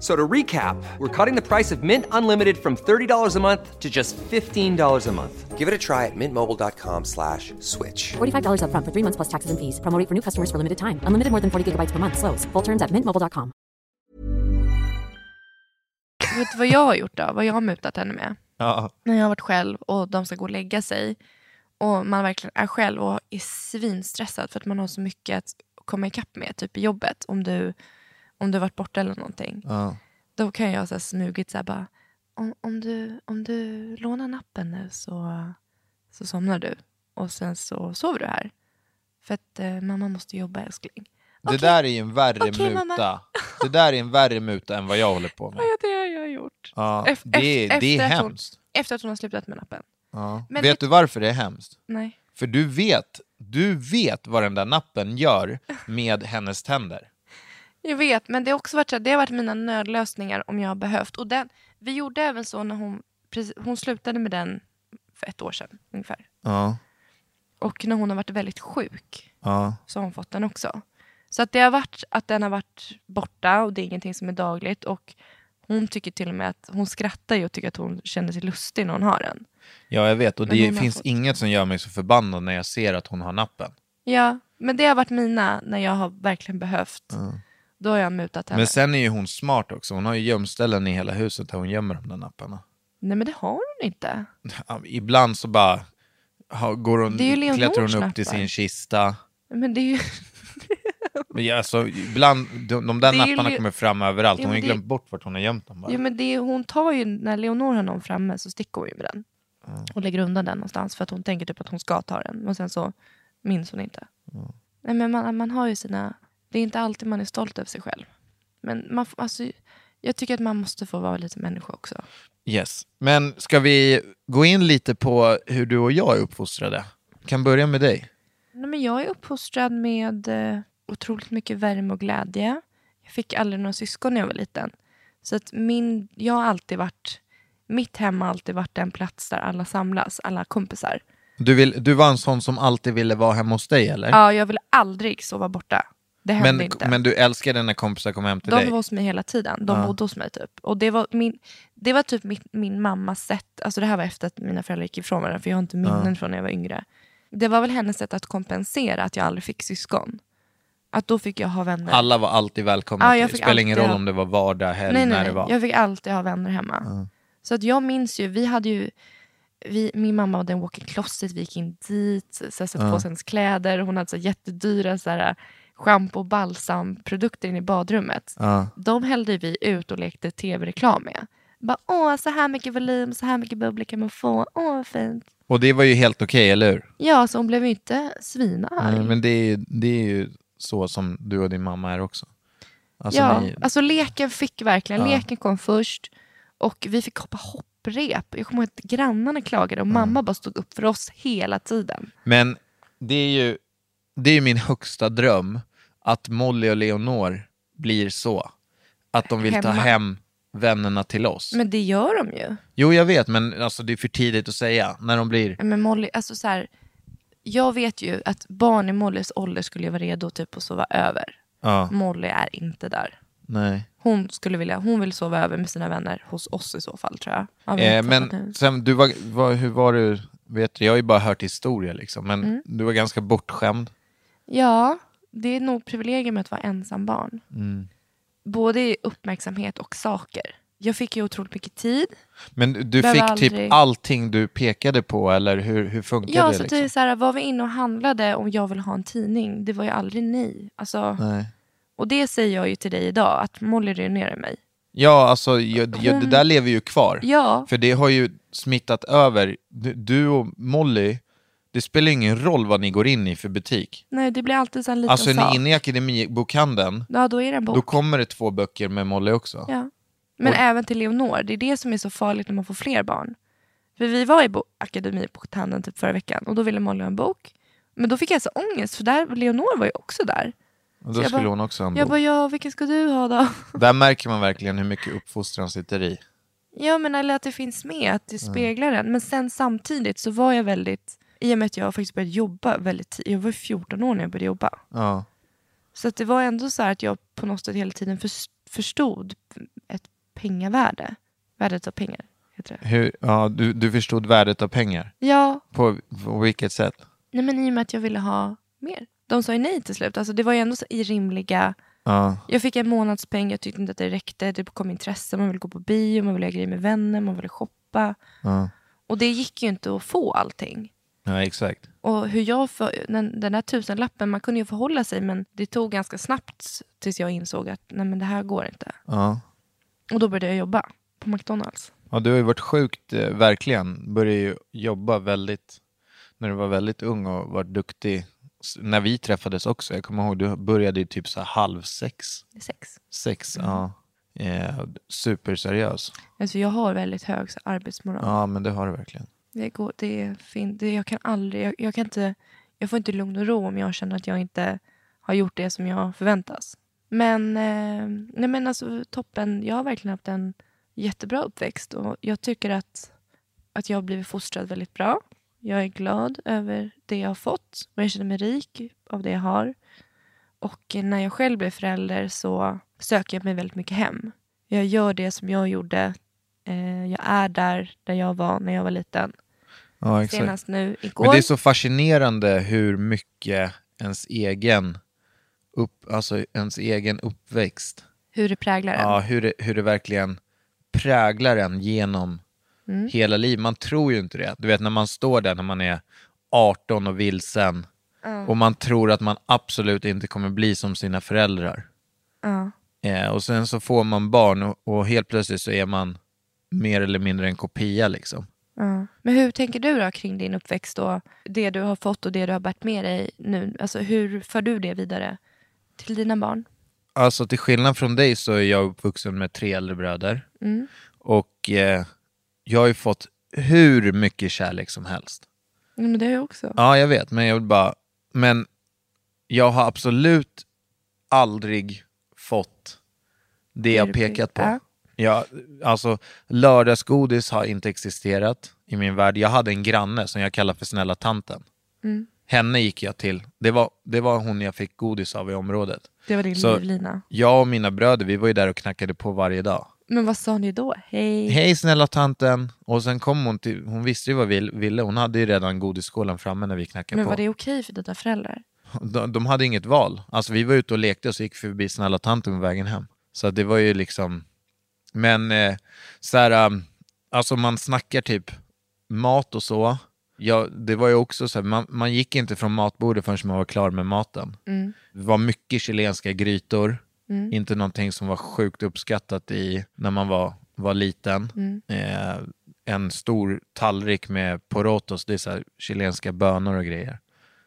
S4: So to recap, we're cutting the price of Mint Unlimited from $30 a month to just $15 a month. Give it a try at mintmobile.com slash switch.
S5: $45 upfront for three months plus taxes and fees. Promo rate for new customers for limited time. Unlimited more than 40 gigabytes per month. Slows. Full terms at mintmobile.com.
S2: vet du vad jag har gjort då? Vad jag har mutat henne med?
S1: Ja.
S2: när jag har varit själv och de ska gå och lägga sig och man verkligen är själv och är svinstressad för att man har så mycket att komma ikapp med typ i jobbet om du, om du har varit borta eller någonting.
S1: Ja.
S2: Då kan jag så här smugit så här bara, om, om, du, om du lånar nappen nu så, så somnar du och sen så sover du här. För att eh, mamma måste jobba älskling.
S1: Det
S2: Okej.
S1: där är ju en värre
S2: Okej, mamma.
S1: muta. Det där är en värre muta än vad jag håller på med.
S2: Ja, det har jag gjort.
S1: Ja,
S2: Ef-
S1: det,
S2: ef-
S1: det är
S2: efter att hon-
S1: hemskt.
S2: Efter att hon har slutat med nappen.
S1: Ja.
S2: Men
S1: vet
S2: ett-
S1: du varför det är hemskt?
S2: Nej.
S1: För du vet, du vet vad den där nappen gör med hennes tänder.
S2: Jag vet, men det har också varit, så här, det har varit mina nödlösningar om jag har behövt. Och den, vi gjorde även så när hon, precis- hon slutade med den för ett år sedan ungefär.
S1: Ja,
S2: Och när hon har varit väldigt sjuk
S1: ja,
S2: så har hon fått den också. Så att det har varit att den har varit borta och det är ingenting som är dagligt. Och hon tycker till och med att hon skrattar ju och tycker att hon känner sig lustig när hon har den.
S1: ja jag vet. Och
S2: Men
S1: det
S2: hon har
S1: finns
S2: fått-
S1: inget som gör mig så förbannad när jag ser att hon har nappen.
S2: Ja, men det har varit mina när jag har verkligen behövt. Då har jag mutat henne.
S1: Men sen är ju hon smart också. Hon har ju gömställen i hela huset där hon gömmer de där napparna.
S2: Nej men det har hon inte.
S1: Ja, Ibland så bara ha- går hon,
S2: Det är ju Leonors
S1: klättrar hon upp till
S2: nappar.
S1: sin kista.
S2: Men det är ju...
S1: Men ja, alltså, ibland, de, de där
S2: Det är ju
S1: napparna
S2: li-
S1: kommer fram överallt.
S2: Ja,
S1: Hon har ju
S2: men det-
S1: glömt bort vart hon har gömt dem. Bara.
S2: Jo, men det, är- hon tar ju, när Leonor har någon framme så sticker hon ju med den. Och lägger undan den någonstans för att hon tänker typ att hon ska ta den. Och sen så minns hon inte. Nej, men man, man har ju sina... Det är inte alltid man är stolt över sig själv. Men man, får- alltså, jag tycker att man måste få vara lite människa också.
S1: Yes. Men ska vi gå in lite på hur du och jag är uppfostrade? kan börja med dig.
S2: Nej, men jag är uppfostrad med eh, otroligt mycket värme och glädje. Jag fick aldrig några syskon när jag var liten. Så att min, jag har alltid varit, mitt hem har alltid varit den plats där alla samlas, alla kompisar.
S1: Du, vill, du var en sån som alltid ville vara hemma hos dig eller?
S2: Ja, jag ville aldrig sova borta. Det hände
S1: men,
S2: inte.
S1: men du älskade när kompisar kom hem till
S2: de
S1: dig?
S2: var hos mig hela tiden. De bodde hos mig typ. Och det var, min, det var typ mitt, min mammas sätt, alltså det här var efter att mina föräldrar gick ifrån varandra för jag har inte minnen från när jag var yngre. Det var väl hennes sätt att kompensera att jag aldrig fick syskon. Att då fick jag ha vänner.
S1: Alla var alltid välkomna.
S2: Ja,
S1: till
S2: jag
S1: dig.
S2: fick
S1: det spelar ingen
S2: alltid
S1: roll
S2: ha-
S1: om det var vardag, helg,
S2: nej,
S1: när
S2: nej,
S1: det var.
S2: nej. Jag fick alltid ha vänner hemma. Så att jag minns ju, vi hade ju, vi, min mamma hade en walk-in closet, vi gick in dit, så jag satte på oss hennes kläder, hon hade så här jättedyra så här, schampo och balsamprodukter inne i badrummet.
S1: Ja.
S2: De hällde vi ut och lekte tv-reklam med. Bara, åh, så här mycket volym, så här mycket bubblor kan man få, åh vad fint.
S1: Och det var ju helt okej, eller hur?
S2: Ja, så hon blev ju inte svinarg.
S1: Nej, men det är, ju, det är ju så som du och din mamma är också. Alltså,
S2: ja,
S1: ni,
S2: alltså leken fick verkligen, leken kom först och vi fick hoppa hopprep. Jag kommer ihåg att grannarna klagade och mamma bara stod upp för oss hela tiden.
S1: Men det är ju det är ju min högsta dröm, att Molly och Leonor blir så. Att de vill ta
S2: Hemma.
S1: hem vännerna till oss.
S2: Men det gör de ju.
S1: Jo, jag vet, men alltså, det är för tidigt att säga när de blir...
S2: Men Molly, alltså så här, jag vet ju att barn i Mollys ålder skulle ju vara redo typ att sova över.
S1: Ja,
S2: Molly är inte där.
S1: nej.
S2: Hon, skulle vilja, hon vill sova över med sina vänner hos oss i så fall tror jag. Ja, vi har
S1: Eh,
S2: inte Mm. pratat nu.
S1: men sen, du var, var, hur var du? Vet du, jag har ju bara hört historia, liksom, men
S2: Mm.
S1: du var ganska bortskämd.
S2: Ja, det är nog privilegium att vara ensam barn.
S1: Mm.
S2: Både i uppmärksamhet och saker. Jag fick ju otroligt mycket tid.
S1: Men du
S2: Behöver
S1: fick
S2: aldrig-
S1: typ allting du pekade på, eller hur, hur funkade
S2: Ja,
S1: det?
S2: så typ-
S1: Liksom?
S2: det är så här, var vi inne och handlade om jag vill ha en tidning, det var ju aldrig nej. Alltså,
S1: Nej.
S2: Och det säger jag ju till dig idag, att Molly ruinerar mig.
S1: Ja, alltså jag, jag, det
S2: Hon-
S1: där lever ju kvar.
S2: Ja,
S1: För det har ju smittat över. Du, du och Molly, det spelar ingen roll vad ni går in i för butik.
S2: nej det blir alltid så här en liten
S1: Alltså är
S2: sak.
S1: ni inne i akademibokhandeln,
S2: Ja, då är det en bok.
S1: då kommer det två böcker med Molly också.
S2: Ja. Men även till Leonor, det är det som är så farligt när man får fler barn. För vi var i bo- akademibokhandeln typ förra veckan och då ville Molly ha en bok. Men då fick jag så ångest för där, Leonor var ju också där.
S1: Och
S2: Så
S1: då
S2: jag
S1: skulle
S2: bara-
S1: hon också ha en
S2: Jag bara,
S1: bok.
S2: ja vilken ska du ha då? (laughs)
S1: Där märker man verkligen hur mycket uppfostran sitter i.
S2: Ja men eller att det finns med, att det speglar den. Men sen samtidigt så var jag väldigt, i och med att jag faktiskt började jobba väldigt tidigt, jag var ju 14 år när jag började jobba.
S1: Ja.
S2: Så att det var ändå så här att jag på något sätt hela tiden förs- förstod ett pengavärde. Värdet av pengar, heter det.
S1: Hur, ja, du, du förstod värdet av pengar.
S2: Ja,
S1: På, på vilket sätt?
S2: Nej, men i och med att jag ville ha mer. De sa ju nej till slut. Alltså, det var ju ändå så i rimliga...
S1: Ja.
S2: Jag fick en månadspeng, jag tyckte inte att det räckte. Det kom intresse, man ville gå på bio, man ville göra grejer med vänner, man ville shoppa.
S1: Ja.
S2: Och det gick ju inte att få allting.
S1: ja, exakt.
S2: Och hur jag för, den, den här tusenlappen, man kunde ju förhålla sig men det tog ganska snabbt tills jag insåg att nej men det här går inte.
S1: Ja.
S2: Och då började jag jobba på McDonalds.
S1: Ja, du har ju varit sjukt, eh, verkligen. Började ju jobba väldigt, när du var väldigt ung och var duktig. S- När vi träffades också, jag kommer ihåg, du började ju typ så här halv sex.
S2: Det är sex.
S1: Sex,
S2: Mm.
S1: ja. Eh, superseriös.
S2: Alltså jag har väldigt hög så, arbetsmoral.
S1: Ja, men det har du verkligen.
S2: Det går, det är fin, det, jag kan aldrig, jag, jag kan inte, jag får inte lugn och ro om jag känner att jag inte har gjort det som jag förväntas. Men, eh, nej men alltså toppen, jag har verkligen haft en jättebra uppväxt och jag tycker att, att jag har blivit fostrad väldigt bra. Jag är glad över det jag har fått och jag känner mig rik av det jag har. Och eh, när jag själv blev förälder så söker jag mig väldigt mycket hem. Jag gör det som jag gjorde. Eh, jag är där, där jag var när jag var liten.
S1: Ja, exakt.
S2: Senast nu igår.
S1: Men det är så fascinerande hur mycket ens egen, upp, alltså ens egen uppväxt,
S2: Hur det präglar en.
S1: ja, hur, det, hur det verkligen präglar en genom hela livet. Man tror ju inte det. Du vet när man står där när man är 18 och vilsen Och man tror att man absolut inte kommer bli som sina föräldrar.
S2: Ja.
S1: Eh, och sen så får man barn och, och helt plötsligt så är man mer eller mindre en kopia liksom.
S2: Ja. Men hur tänker du då kring din uppväxt och det du har fått och det du har bärt med dig nu? Alltså hur för du det vidare till dina barn?
S1: Alltså till skillnad från dig så är jag uppvuxen med tre äldre bröder. Och eh, jag har ju fått hur mycket kärlek som helst.
S2: Ja, men det har jag också.
S1: Ja, jag vet, men jag vill bara... Men jag har absolut aldrig fått det jag pekat på.
S2: Ja.
S1: Ja, alltså, lördagsgodis har inte existerat i min värld. Jag hade en granne som jag kallar för snälla tanten.
S2: Mm.
S1: Henne gick jag till. Det var, det var hon jag fick godis av i området.
S2: Det var din
S1: Så-
S2: livlina.
S1: Jag och mina bröder, vi var ju där och knackade på varje dag.
S2: Men vad sa ni då? Hej.
S1: Hej snälla tanten! Och sen kom hon till, hon visste ju vad vi ville, hon hade ju redan godisskålen framme när vi knackade
S2: Men
S1: på.
S2: var det okej för dina föräldrar?
S1: de, de hade inget val. Alltså vi var ute och lekte och så gick vi förbi snälla tanten på vägen hem. Så att det var ju liksom, men eh, så här, um, alltså man snackar typ mat och så. Ja, det var ju också så här, man, man gick inte från matbordet förrän man var klar med maten. Det var mycket chilenska grytor, inte någonting som var sjukt uppskattat i när man var, var liten. Eh, en stor tallrik med porotos, det är så här, chilenska bönor och grejer.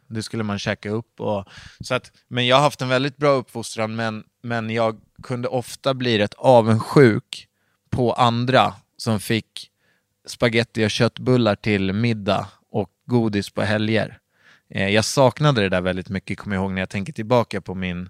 S1: Det skulle man käka upp. Och, så att, men jag har haft en väldigt bra uppfostran, men, men jag kunde ofta bli rätt avundsjuk på andra som fick spaghetti och köttbullar till middag och godis på helger. Eh, jag saknade det där väldigt mycket, kommer jag ihåg, när jag tänker tillbaka på min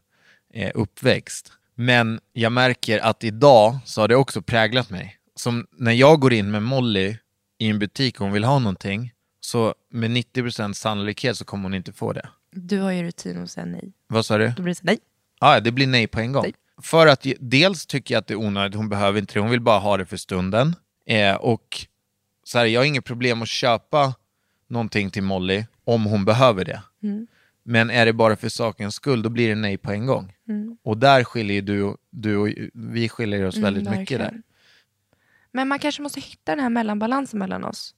S1: eh, uppväxt. Men jag märker att idag så har det också präglat mig. Som när jag går in med Molly i en butik och hon vill ha någonting, så med 90% sannolikhet så kommer hon inte få det.
S2: Du har ju rutin att säga nej.
S1: Vad sa du?
S2: Då blir det så nej.
S1: Ja, det blir nej på en gång.
S2: Nej.
S1: För att ju- dels tycker jag att det är onödigt, hon behöver inte det, hon vill bara ha det för stunden. Eh, och så här, jag har inget problem att köpa någonting till Molly om hon behöver det.
S2: Mm.
S1: Men är det bara för sakens skull, då blir det nej på en gång.
S2: Mm.
S1: Och där skiljer ju du, och- du och vi skiljer oss väldigt mycket där.
S2: verkligen. Men man kanske måste hitta den här mellanbalansen mellan oss.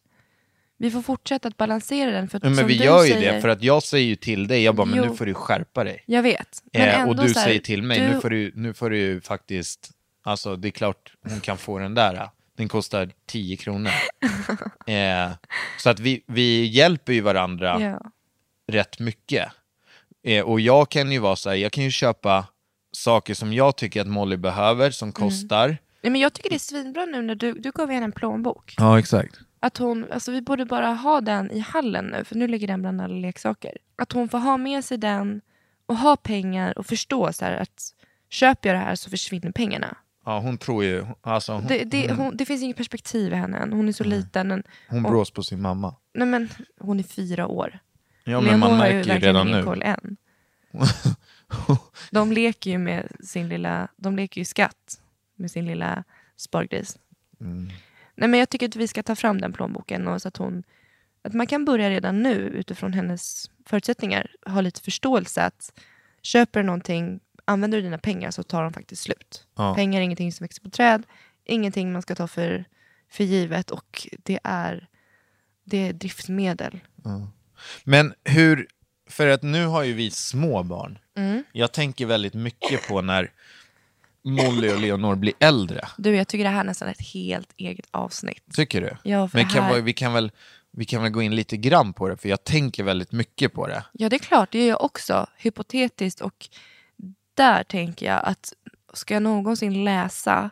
S2: Vi får fortsätta att balansera den. För att,
S1: Ja, Men
S2: som
S1: vi
S2: du
S1: gör ju
S2: säger,
S1: det, för att jag säger ju till dig, jag bara, men
S2: Jo.
S1: nu får du skärpa dig.
S2: Jag vet. Men
S1: Eh,
S2: ändå
S1: och du
S2: så här,
S1: säger till mig,
S2: du-
S1: nu, får du, nu får du ju faktiskt, alltså det är klart hon kan få den där, eh. den kostar 10
S2: (laughs)
S1: kronor. eh, så att vi, vi hjälper ju varandra
S2: Ja.
S1: rätt mycket. Eh, och jag kan ju vara så här, jag kan ju köpa saker som jag tycker att Molly behöver,
S2: Mm.
S1: som kostar.
S2: Nej, men jag tycker det är svinbra nu när du, du gav henne en plånbok.
S1: Ja, exakt.
S2: Att hon, alltså vi borde bara ha den i hallen nu, för nu ligger den bland alla leksaker. Att hon får ha med sig den och ha pengar och förstå så här att köper jag det här så försvinner pengarna.
S1: Ja, hon tror ju, alltså hon,
S2: Det, det, hon, det finns inget perspektiv i henne än. Hon är så liten. Men,
S1: hon brås på sin mamma.
S2: nej men, hon är fyra år.
S1: Ja, men man
S2: Leonor har
S1: märker ju
S2: verkligen
S1: redan
S2: ingen
S1: nu.
S2: Koll än.
S1: (laughs)
S2: De leker ju med sin lilla, de leker ju skatt med sin lilla spargris.
S1: Mm.
S2: Nej, men jag tycker att vi ska ta fram den plånboken och så att hon, att man kan börja redan nu utifrån hennes förutsättningar ha lite förståelse att köper du någonting, använder du dina pengar så tar de faktiskt slut.
S1: Ja.
S2: Pengar är ingenting som växer på träd, ingenting man ska ta för, för givet och det är, det är driftmedel.
S1: Men hur, för att nu har ju vi små barn.
S2: Mm.
S1: Jag tänker väldigt mycket på när Molly och Leonor blir äldre.
S2: Du, jag tycker det här är nästan ett helt eget avsnitt.
S1: Tycker du?
S2: Ja, för
S1: Men kan
S2: här-
S1: vi, vi, kan väl, vi kan väl gå in lite grann på det, för jag tänker väldigt mycket på det.
S2: Ja, det är klart. Det gör jag också. Hypotetiskt. Och där tänker jag att ska jag någonsin läsa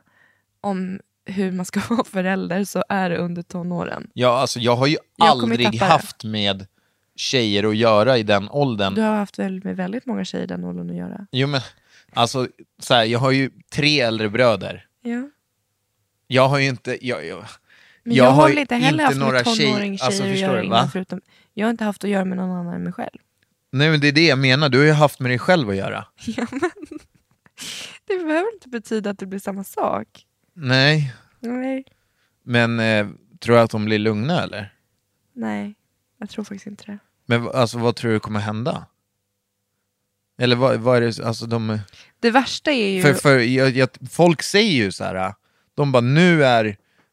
S2: om hur man ska (laughs) vara förälder så är det under tonåren.
S1: Jag, alltså, jag har ju
S2: Jag kommer
S1: aldrig
S2: tappa det.
S1: haft med tjejer att göra i den åldern.
S2: Du har haft väl med väldigt många tjejer i den åldern att göra?
S1: Jo, men, alltså, så här, jag har ju tre äldre bröder.
S2: Ja.
S1: Jag har ju inte... Jag, jag,
S2: Men jag, har
S1: ju
S2: väl inte heller haft med
S1: tjej- alltså,
S2: tonåring tjejer att
S1: förstår
S2: göra
S1: du, va?
S2: innan förutom... Jag har inte haft att göra med någon annan än mig själv.
S1: Nej, men det är det jag menar. Du har ju haft med dig själv att göra.
S2: Det behöver inte betyda att det blir samma sak.
S1: Nej,
S2: Nej.
S1: men eh, tror jag att de blir lugna eller?
S2: Nej, jag tror faktiskt inte det.
S1: Men v- alltså, vad tror du kommer hända? Eller vad, vad är det, alltså de...
S2: Det värsta är ju...
S1: För, för jag, jag, folk säger ju så här, de bara äh, nu är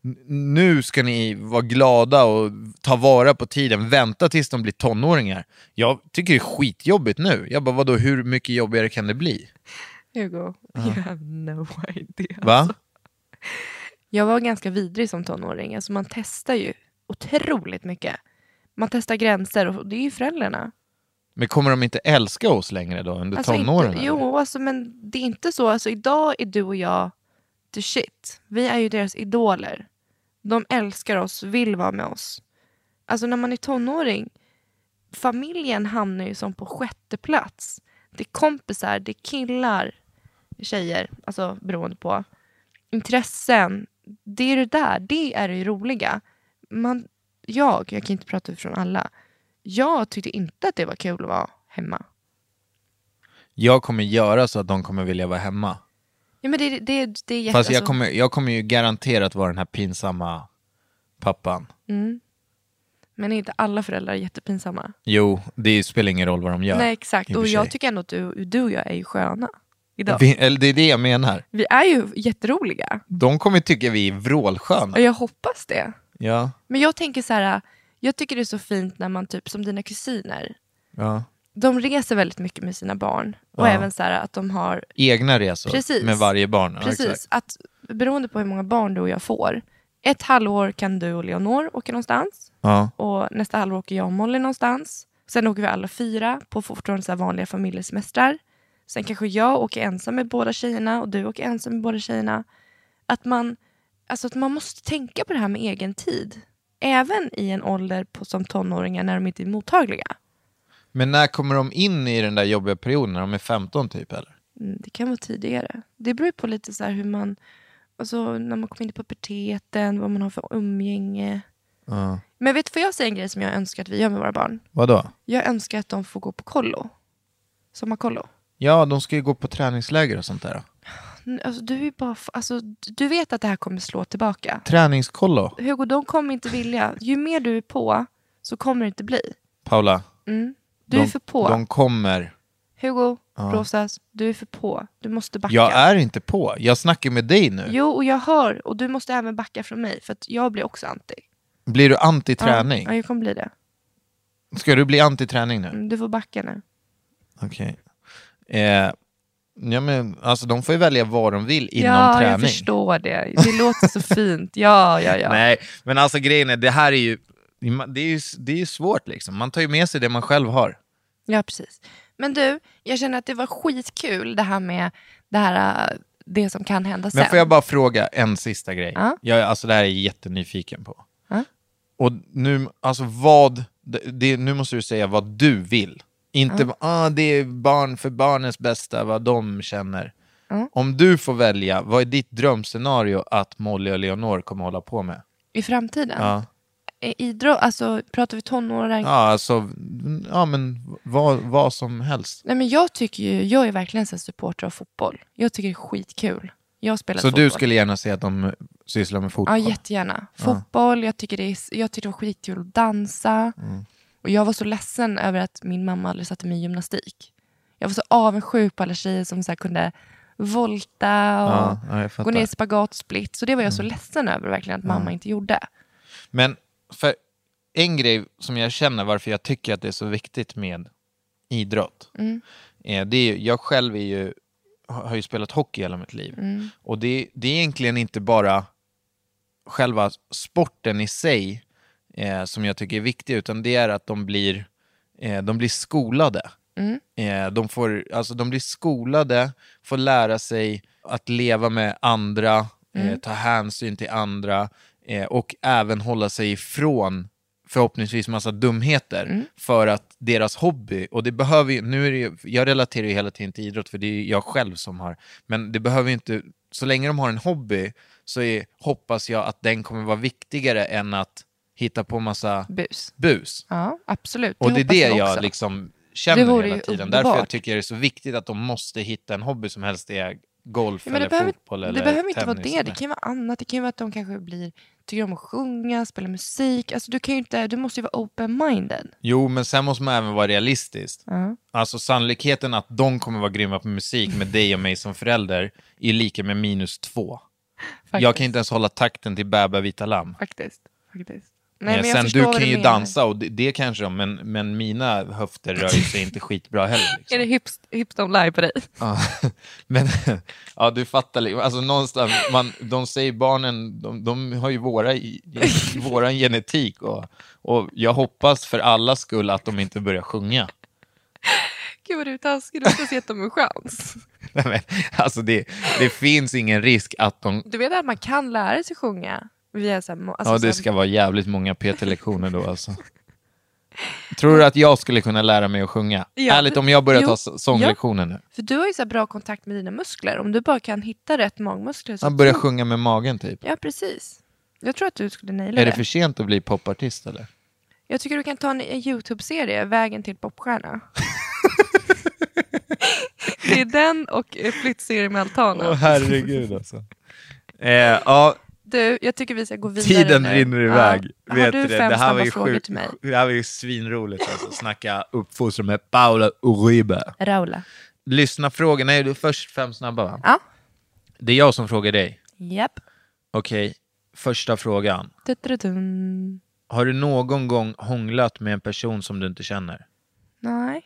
S1: "N- nu ska ni vara glada och ta vara på tiden, vänta tills de blir tonåringar. Jag tycker det är skitjobbigt nu. Jag bara, vadå, hur mycket jobbigare kan det bli?
S2: Hugo, you have no (laughs) idea.
S1: Va?
S2: Jag var ganska vidrig som tonåring. Alltså man testar ju otroligt mycket. Man testar gränser och det är ju föräldrarna.
S1: Men kommer de inte älska oss längre då under
S2: Alltså
S1: tonåren?
S2: inte,
S1: eller?
S2: jo, alltså, men det är inte så. Alltså, idag är du och jag the shit. Vi är ju deras idoler. De älskar oss, vill vara med oss. Alltså när man är tonåring, familjen hamnar ju som på sjätte plats. Det är kompisar, det är killar, tjejer, alltså beroende på. Intressen, det är det där, det är det roliga. Man, jag, jag kan inte prata utifrån alla, jag tyckte inte att det var kul att vara hemma.
S1: Jag kommer göra så att de kommer vilja vara hemma.
S2: Ja, men det, det, det är jätte...
S1: Fast jag
S2: alltså,
S1: kommer, jag kommer ju garanterat vara den här pinsamma pappan.
S2: Men är inte alla föräldrar jättepinsamma?
S1: Jo, det spelar ingen roll vad de gör.
S2: Nej,
S1: i
S2: exakt.
S1: och
S2: Och
S1: för
S2: jag
S1: sig.
S2: tycker ändå att du, du och jag är ju sköna idag. Vi,
S1: Vi, eller det är det jag menar.
S2: är ju jätteroliga.
S1: De kommer tycka vi är vrålsköna.
S2: Och jag hoppas det.
S1: Ja,
S2: Men jag tänker så här, jag tycker det är så fint när man typ som dina kusiner,
S1: ja.
S2: de reser väldigt mycket med sina barn. Och även så här att de har
S1: Egna resor
S2: Precis.
S1: med varje barn. Ja,
S2: Precis,
S1: exakt.
S2: att beroende på hur många barn du och jag får. Ett halvår kan du och Leonor åka någonstans
S1: Ja.
S2: och nästa halvår åker jag och Molly någonstans. Sen åker vi alla fyra på fortfarande så här vanliga familjesemestrar. Sen kanske jag åker ensam med båda tjejerna och du åker ensam med båda tjejerna. Att man, alltså att man måste tänka på det här med egen tid. Även i en ålder på, som tonåringar när de inte är mottagliga.
S1: Men när kommer de in i den där jobbiga perioden? När de är 15 typ eller?
S2: Mm, Det kan vara tidigare. Det beror ju på lite så här hur man... Alltså när man kommer in i puberteten, vad man har för umgänge.
S1: Ja.
S2: Men vet du, får jag säga en grej som jag önskar att vi gör med våra barn?
S1: Vadå?
S2: Jag önskar att de får gå på kollo. Sommarkollo.
S1: Ja, de ska ju gå på träningsläger och sånt där.
S2: N- Alltså, du, är ju bara f- alltså, d- du vet att det här kommer slå tillbaka.
S1: Träningskollo,
S2: Hugo, de kommer inte vilja. Ju mer du är på, så kommer det inte bli.
S1: Paula.
S2: Mm. Du
S1: de,
S2: är för på.
S1: De kommer.
S2: Hugo, Rosas, du är för på. Du måste backa.
S1: Jag är inte på. Jag snackar med dig nu.
S2: Jo, och jag hör. Och du måste även backa från mig, för att jag blir också anti.
S1: Blir du anti-träning?
S2: Ja, jag kommer bli det.
S1: Ska du bli anti-träning nu?
S2: Mm, Du får backa nu.
S1: Okej. Eh, ja, men alltså de får ju välja vad de vill inom
S2: ja,
S1: träning.
S2: jag förstår det. Det låter så (laughs) fint. Ja, ja, ja.
S1: Nej, men alltså grejen är, det här är ju, det är ju, det är ju svårt liksom. Man tar ju med sig det man själv har.
S2: Ja, precis. Men du, jag känner att det var skitkul det här med det, här, äh, det som kan hända sen.
S1: Men får jag bara fråga en sista grej?
S2: Ja.
S1: Jag, alltså det här är jag jättenyfiken på.
S2: Ja.
S1: Och nu, alltså vad, det, det, nu måste du säga vad du vill. Inte, ah, det är barn för barnens bästa, vad de känner. Om du får välja, vad är ditt drömscenario att Molly och Leonor kommer hålla på med?
S2: I framtiden?
S1: Ja.
S2: I- Idrott, alltså pratar vi tonåring?
S1: Ja, alltså, ja men vad, vad som helst.
S2: Nej, men jag tycker ju, jag är verkligen en supporter av fotboll. Jag tycker det är skitkul. Jag spelar
S1: Så
S2: fotboll.
S1: du skulle gärna se att de sysslar med fotboll?
S2: Ja, jättegärna. Fotboll, jag tycker det, är, jag tycker det var skitkul att dansa.
S1: Mm.
S2: Och jag var så ledsen över att min mamma aldrig satte mig i gymnastik. Jag var så avundsjuk på alla tjejer som så här kunde volta och
S1: Ja, ja, jag fattar. Mm.
S2: gå ner i spagat och split. Så det var jag så ledsen över verkligen att mamma inte gjorde.
S1: Men för en grej som jag känner varför jag tycker att det är så viktigt med idrott. Eh, Det är, ju- jag själv är ju, har har ju spelat hockey hela mitt liv. Och det, det är egentligen inte bara själva sporten i sig eh, som jag tycker är viktig, utan det är att de blir, eh, de blir skolade. Eh, de, får, alltså, de blir skolade, får lära sig att leva med andra, eh, ta hänsyn till andra eh, och även hålla sig ifrån förhoppningsvis massa dumheter
S2: Mm.
S1: för att deras hobby, och det behöver ju, nu är det ju, jag relaterar ju hela tiden till idrott för det är ju jag själv som har, men det behöver ju inte, så länge de har en hobby så är, hoppas jag att den kommer vara viktigare än att hitta på massa
S2: Bus.
S1: bus.
S2: Ja, absolut.
S1: Och det är
S2: hoppas
S1: det jag
S2: också.
S1: liksom
S2: Det
S1: känner
S2: vore
S1: hela
S2: ju
S1: tiden.
S2: underbart.
S1: Därför jag tycker jag det är så viktigt att de måste hitta en hobby som helst är golf
S2: Ja, men det
S1: eller
S2: behöver,
S1: fotboll
S2: det
S1: eller
S2: behöver inte vara
S1: tennis.
S2: det. Det kan ju vara annat. Det kan ju vara att de kanske blir, tycker om att sjunga, spela musik. Alltså, du, kan ju inte, du måste ju vara open-minded.
S1: Jo, men sen måste man även vara realistisk. Alltså sannolikheten att de kommer vara grymma på musik med dig och mig som förälder är lika med minus två.
S2: Faktiskt.
S1: Jag kan inte ens hålla takten till Bäba vita lamm.
S2: Faktiskt. faktiskt.
S1: Eh,
S2: jag
S1: Sen
S2: förstår
S1: du
S2: vad
S1: kan ju
S2: menar.
S1: dansa och det, det kanske de, men, men mina höfter rör ju sig inte skitbra heller.
S2: Är (laughs)
S1: Liksom.
S2: det hips, hips don't lie på dig?
S1: Ja, (laughs) men ja, du fattar. li- Alltså, någonstans, man, de säger barnen, de, de har ju våra, i- i- våran genetik och, och jag hoppas för allas skull att de inte börjar sjunga.
S2: Gud vad du är taskig, du ska se att de har en chans.
S1: Nej, men, alltså, det, det finns ingen risk att de...
S2: (laughs) Du vet att man kan lära sig sjunga via så här, mo- alltså
S1: Ja,
S2: så
S1: det
S2: här-
S1: ska vara jävligt många PT-lektioner då alltså. Tror du att jag skulle kunna lära mig att sjunga?
S2: Ja.
S1: Ärligt, om jag börjar
S2: Jo.
S1: ta s- sånglektioner nu.
S2: För du har ju så här bra kontakt med dina muskler. Om du bara kan hitta rätt magmuskler. Så
S1: Jag börjar sjunga med magen typ.
S2: Ja, precis. Jag tror att du skulle naila
S1: Är
S2: det.
S1: det för sent att bli popartist eller?
S2: Jag tycker du kan ta en en YouTube-serie, Vägen
S1: (laughs)
S2: till popstjärna. det är den och eh, flyttserien med altanen.
S1: herregud alltså. Eh, ja,
S2: Du, jag tycker vi ska gå vidare
S1: Tiden
S2: nu.
S1: rinner
S2: Ja.
S1: iväg.
S2: Har
S1: Vet
S2: du
S1: du
S2: fem
S1: det här
S2: snabba
S1: var ju
S2: frågor
S1: sjukt-
S2: till mig?
S1: Det här var ju svinroligt alltså. Snacka uppfostran med Paula Uribe.
S2: Raula.
S1: Lyssna frågor. Nej, du är först fem snabba va?
S2: Ja.
S1: Det är jag som frågar dig.
S2: Japp.
S1: Okej, första frågan.
S2: Tutturutun.
S1: Har du någon gång hånglat med en person som du inte känner?
S2: Nej.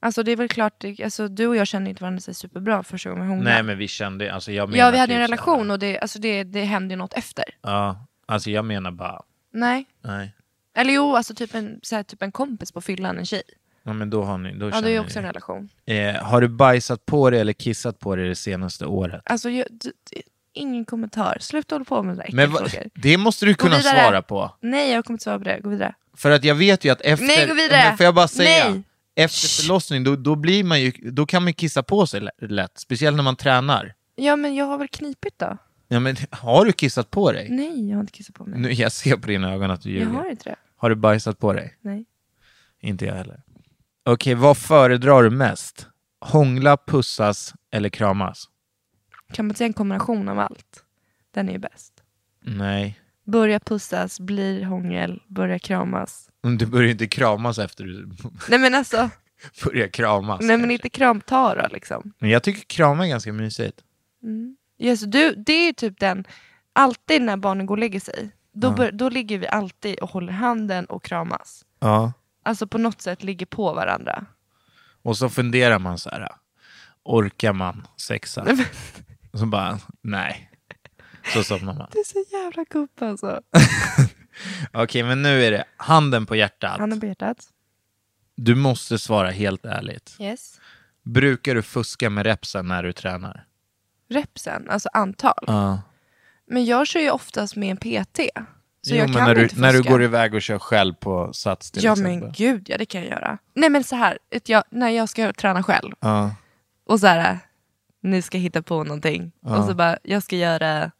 S2: Alltså det är väl klart, det- alltså, du och jag känner inte varandra så superbra första gången vi hånglade.
S1: Nej, men vi kände... Alltså jag menar
S2: Ja, vi hade
S1: typ
S2: en
S1: så här-
S2: relation och det, alltså, det, det hände ju något efter.
S1: Ja, alltså jag menar bara...
S2: Nej.
S1: Nej.
S2: Eller jo, alltså typ en, så här, typ en kompis på fyllan, en tjej.
S1: Ja, men då har ni... Då
S2: Ja,
S1: känner
S2: det är ju
S1: ni
S2: också en relation.
S1: Eh, har du bajsat på dig eller kissat på dig det senaste året?
S2: Alltså, jag, d- d- ingen kommentar. Sluta hålla på med de där
S1: Men va, (laughs)
S2: frågor.
S1: det måste du
S2: Gå
S1: kunna
S2: vidare.
S1: svara på.
S2: Nej, jag kommer inte svara på det. Gå vidare.
S1: För att jag vet ju att efter...
S2: Nej, gå vidare.
S1: Men Får jag bara säga?
S2: Nej.
S1: Efter förlossning, då, då, blir man ju, då kan man ju kissa på sig l- lätt. Speciellt när man tränar.
S2: Ja, men jag har väl knipit då?
S1: Ja, men, har du kissat på dig?
S2: Nej, jag har inte kissat på mig.
S1: Nu, jag ser på dina ögon att du
S2: jag
S1: ljuger.
S2: har inte det.
S1: Har du bajsat på dig?
S2: Nej.
S1: Inte jag heller. Okej, vad föredrar du mest? Hångla, pussas eller kramas?
S2: Kan man säga en kombination av allt? Den är ju bäst.
S1: Nej.
S2: Börja pussas, blir hångel, börja kramas.
S1: Men Mm, Du börjar ju inte kramas efter du (laughs)
S2: Nej men alltså,
S1: börjar kramas.
S2: nej men
S1: kanske.
S2: inte kramta då liksom.
S1: Men jag tycker krama är ganska mysigt.
S2: Yes, du, det är typ den, alltid när barnen går och lägger sig, då, bör, då ligger vi alltid och håller handen och kramas.
S1: Ja.
S2: Alltså på något sätt ligger på varandra.
S1: Och så funderar man så här, orkar man sexa? Och så bara, nej. Så somnar man.
S2: Det är så jävla gubb alltså.
S1: Okej, men nu är det handen på hjärtat.
S2: Handen på hjärtat.
S1: Du måste svara helt ärligt.
S2: Yes.
S1: Brukar du fuska med repsen när du tränar?
S2: Repsen, alltså antal.
S1: Ja.
S2: Men jag kör ju oftast med en PT. Så
S1: jo,
S2: jag
S1: men
S2: kan
S1: när, du,
S2: inte
S1: när du
S2: fuska.
S1: går iväg och kör själv på Sats till
S2: Ja
S1: exempel.
S2: men gud ja, det kan jag göra. Nej men så här, ett jag, när jag ska träna själv
S1: Ja.
S2: och så här, ni ska hitta på någonting och så bara, jag ska göra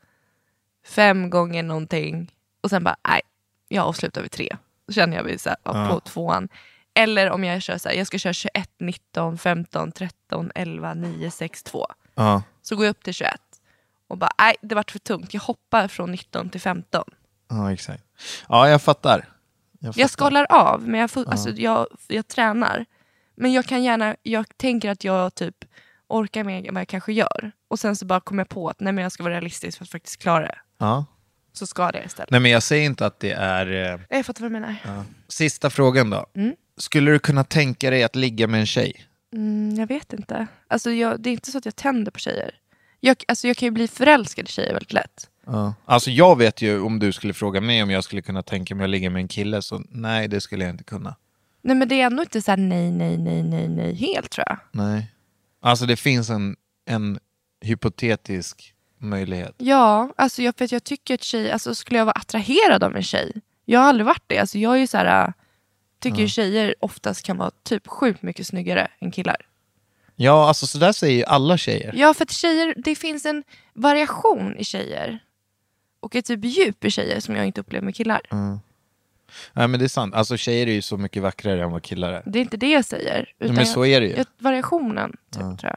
S2: fem gånger någonting och sen bara, nej, jag avslutar vid tre. Då känner jag mig så här, ja, på tvåan. Eller om jag kör så här, jag ska köra 21, 19, 15, 13, 11, 9, 6, 2.
S1: Ja.
S2: Så går jag upp till 21 och bara, nej det vart för tungt, jag hoppar från 19 till 15.
S1: ja, exakt. Ja, jag fattar. Jag
S2: Jag
S1: fattar.
S2: skalar av, men jag, får, alltså, jag, jag tränar. Men jag kan gärna, jag tänker att jag typ orkar mer än vad jag kanske gör. Och sen så bara kommer jag på att nej, men jag ska vara realistisk för att faktiskt klara det.
S1: Ja.
S2: Så ska det istället.
S1: Nej, men jag säger inte att det är... Eh...
S2: Jag fattar vad du menar.
S1: Sista frågan då. Skulle du kunna tänka dig att ligga med en tjej?
S2: Mm, jag vet inte. Alltså, jag, det är inte så att jag tänder på tjejer. Jag, alltså, jag kan ju bli förälskad i tjejer väldigt lätt.
S1: Alltså jag vet ju om du skulle fråga mig om jag skulle kunna tänka mig att ligga med en kille, så nej det skulle jag inte kunna.
S2: Nej, men det är ändå inte så här nej, nej, nej, nej, nej helt tror jag.
S1: Nej. Alltså det finns en, en hypotetisk möjlighet.
S2: Ja, alltså jag, för att jag tycker att tjej, alltså skulle jag vara attraherad av en tjej? Jag har aldrig varit det. Alltså jag är ju så här, äh, tycker ju tjejer oftast kan vara typ sjukt mycket snyggare än killar.
S1: Ja, alltså sådär säger ju alla tjejer.
S2: Ja, för att tjejer, det finns en variation i tjejer. Och ett typ djup i tjejer som jag inte upplever med killar.
S1: Mm. Nej men det är sant, alltså tjejer är ju så mycket vackrare än vad killar är.
S2: Det är inte det jag säger. utan
S1: men så
S2: jag,
S1: är det ju.
S2: Jag, variationen, typ, tror jag.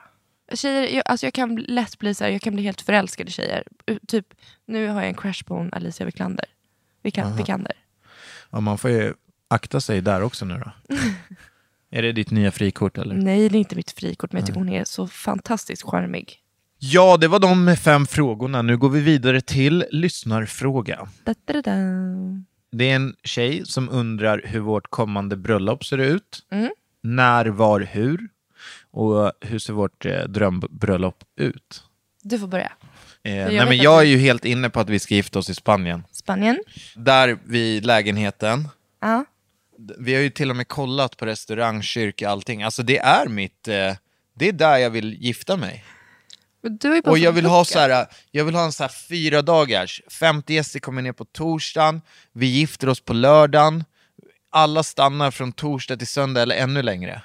S2: Tjejer, jag, alltså jag kan bli- lätt bli så här, jag kan bli helt förälskad i tjejer. U- Typ, nu har jag en crush på hon Alicia Vikander. Vika- Vikander.
S1: Ja, man får ju akta sig där också nu då. (laughs) är det ditt nya frikort eller?
S2: Nej, det är inte mitt frikort, men jag tycker hon är så fantastiskt charmig.
S1: Ja, det var de fem frågorna. Nu går vi vidare till lyssnarfråga.
S2: Da, da, da, da.
S1: Det är en tjej som undrar hur vårt kommande bröllop ser ut.
S2: Mm.
S1: När, var, hur? Och hur ser vårt eh, drömbröllop ut?
S2: Du får börja.
S1: Eh,
S2: jag
S1: nej,
S2: vet
S1: men
S2: att
S1: jag
S2: det-
S1: är ju helt inne på att vi ska gifta oss i Spanien.
S2: Spanien.
S1: Där vid lägenheten.
S2: Ja.
S1: D- Vi har ju till och med kollat på restaurang, kyrka, allting. Alltså det är mitt... Eh, det är där jag vill gifta mig.
S2: Men Du är bara
S1: Och jag vill ha
S2: bokat.
S1: så här, jag vill ha en så här fyra dagars, 50 gäster kommer ner på torsdagen, vi gifter oss på lördagen, alla stannar från torsdag till söndag eller ännu längre.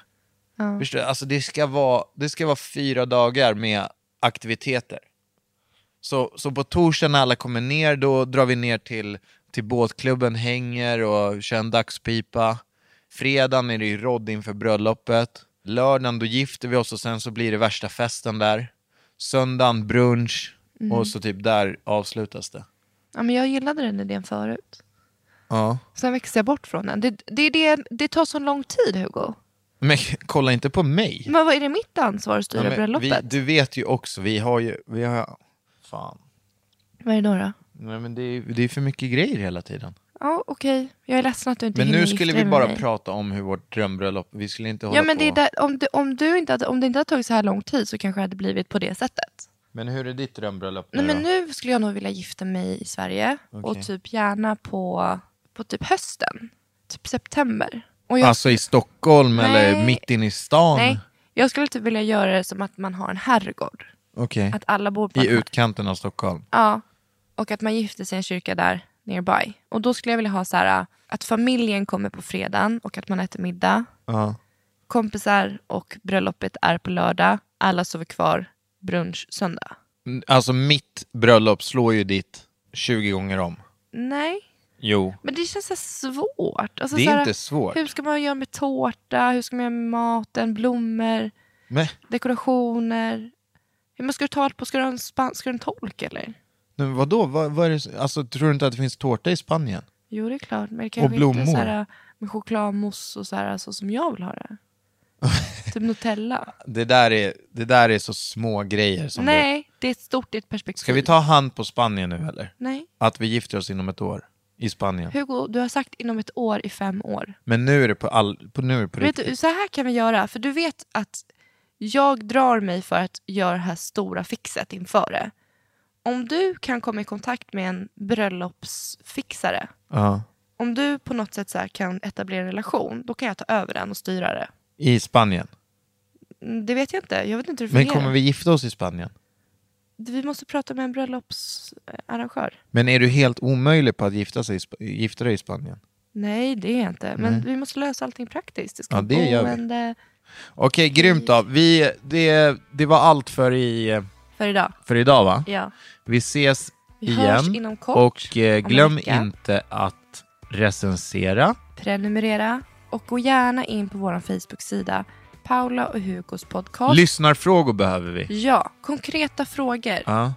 S2: Ja.
S1: Förstår du? Alltså det ska, vara, det ska vara fyra dagar med aktiviteter. Så, så på torsdagen när alla kommer ner, då drar vi ner till, till båtklubben, hänger och kör en dagspipa. Fredagen är det ju rodd inför bröllopet. Lördagen då gifter vi oss och sen så blir det värsta festen där. Söndagen brunch
S2: Mm.
S1: och så typ där avslutas det.
S2: Ja, men jag gillade den idén förut.
S1: Ja.
S2: Sen växte jag bort från den. Det, det, är det, det tar så lång tid, Hugo.
S1: Men kolla inte på mig.
S2: Men vad är det mitt ansvar att styra
S1: Ja, men vi,
S2: bröllopet?
S1: du vet ju också, vi har ju... Vi har, fan.
S2: Vad är det då? då?
S1: Nej, men det, är, det är för mycket grejer hela tiden.
S2: Ja, okej. Jag är ledsen att du inte
S1: Men
S2: hinner
S1: nu
S2: gifta
S1: skulle
S2: dig
S1: vi
S2: med
S1: bara
S2: mig.
S1: prata om hur vårt drömbröllop, vi skulle inte hålla
S2: Ja, men
S1: på.
S2: det är där, om, du, om, du inte hade, om det inte hade tagit så här lång tid så kanske det hade blivit på det sättet.
S1: Men hur är ditt drömbröllop nu
S2: Nej, men
S1: då?
S2: nu skulle jag nog vilja gifta mig i Sverige
S1: Okej.
S2: och typ gärna på, på typ hösten. Typ september. Och jag,
S1: Alltså i Stockholm
S2: Nej.
S1: eller mitt inne i stan?
S2: nej, jag skulle typ vilja göra det som att man har en herrgård.
S1: Okej.
S2: Att alla bor på
S1: I
S2: en herrgård.
S1: utkanten av Stockholm?
S2: Ja, och att man gifter sig i en kyrka där nearby. Och då skulle jag vilja ha så här att familjen kommer på fredagen och att man äter middag.
S1: Ja.
S2: Kompisar och bröllopet är på lördag. Alla sover kvar brunch söndag.
S1: Mm, Alltså mitt bröllop slår ju ditt 20 gånger om.
S2: Nej,
S1: Jo.
S2: men det känns så här svårt. Alltså
S1: Det är
S2: så här,
S1: inte svårt.
S2: Hur ska man göra med tårta? Hur ska man göra med maten? Blommor?
S1: Men,
S2: Dekorationer? Hur man ska du ta allt på? Ska du ha en, span- ska du ha en tolk eller?
S1: men vadå? Vad, vad är det, alltså, tror du inte att det finns tårta i Spanien?
S2: Jo, det är klart. Men det kanske
S1: blommor.
S2: inte så här med chokladmousse och så här, så som jag vill
S1: (laughs)
S2: ha det. typ Nutella.
S1: Det där är, det där är så små grejer som det...
S2: Nej, det är ett stort i ett perspektiv.
S1: Ska vi ta hand på Spanien nu eller?
S2: Nej.
S1: Att vi gifter oss inom ett år i Spanien.
S2: Hugo, du har sagt inom ett år i fem år.
S1: Men nu är det på, all, på, nu är det på
S2: Vet
S1: riktigt.
S2: du, så här kan vi göra. För du vet att jag drar mig för att göra det här stora fixet inför det. Om du kan komma i kontakt med en bröllopsfixare.
S1: Ja.
S2: Om du på något sätt så här kan etablera en relation, då kan jag ta över den och styra det.
S1: I Spanien.
S2: Mm, Det vet jag inte. Jag vet inte hur det
S1: Men
S2: fungerar.
S1: kommer vi gifta oss i Spanien?
S2: Vi måste prata med en bröllopsarrangör.
S1: Men är du helt omöjlig på att gifta, sig, i Sp- gifta dig i Spanien?
S2: Nej, det är jag inte. Men vi måste lösa allting praktiskt. Det ska
S1: Ja,
S2: vara
S1: det gör vi.
S2: boende
S1: Okej, grymt då. Vi, det, det var allt för, i,
S2: för idag.
S1: för idag va?
S2: Ja.
S1: Vi ses
S2: Vi hörs
S1: igen.
S2: inom kort.
S1: Och eh,
S2: om en
S1: glöm
S2: vecka.
S1: inte att recensera.
S2: Prenumerera. Och gå gärna in på vår Facebook-sida. Paula och Hugos podcast.
S1: Lyssnarfrågor behöver vi.
S2: Ja, konkreta frågor.
S1: Ja.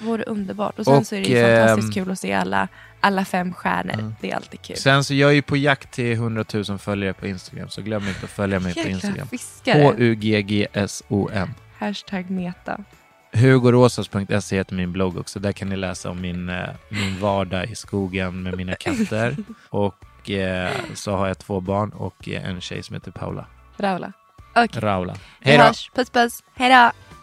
S2: Vore underbart. Och sen
S1: Och,
S2: så är det ju fantastiskt
S1: ehm, Mm.
S2: kul att se alla, alla fem stjärnor. Det är alltid kul.
S1: Sen så jag är ju på jakt till 100 000 följare på Instagram, så glöm inte att följa mig på
S2: Jäkla
S1: Instagram.
S2: fiskare.
S1: H-U-G-G-S-O-N.
S2: Hashtag meta.
S1: Hugorosas.se E heter min blogg också. Där kan ni läsa om min, eh, min vardag i skogen med mina katter. Och eh, så har jag två barn och eh, en tjej som heter Paula
S2: Raula. Okej,
S1: Raula.
S2: vi
S1: Hej då!
S2: hörs. Puss puss. Hej då.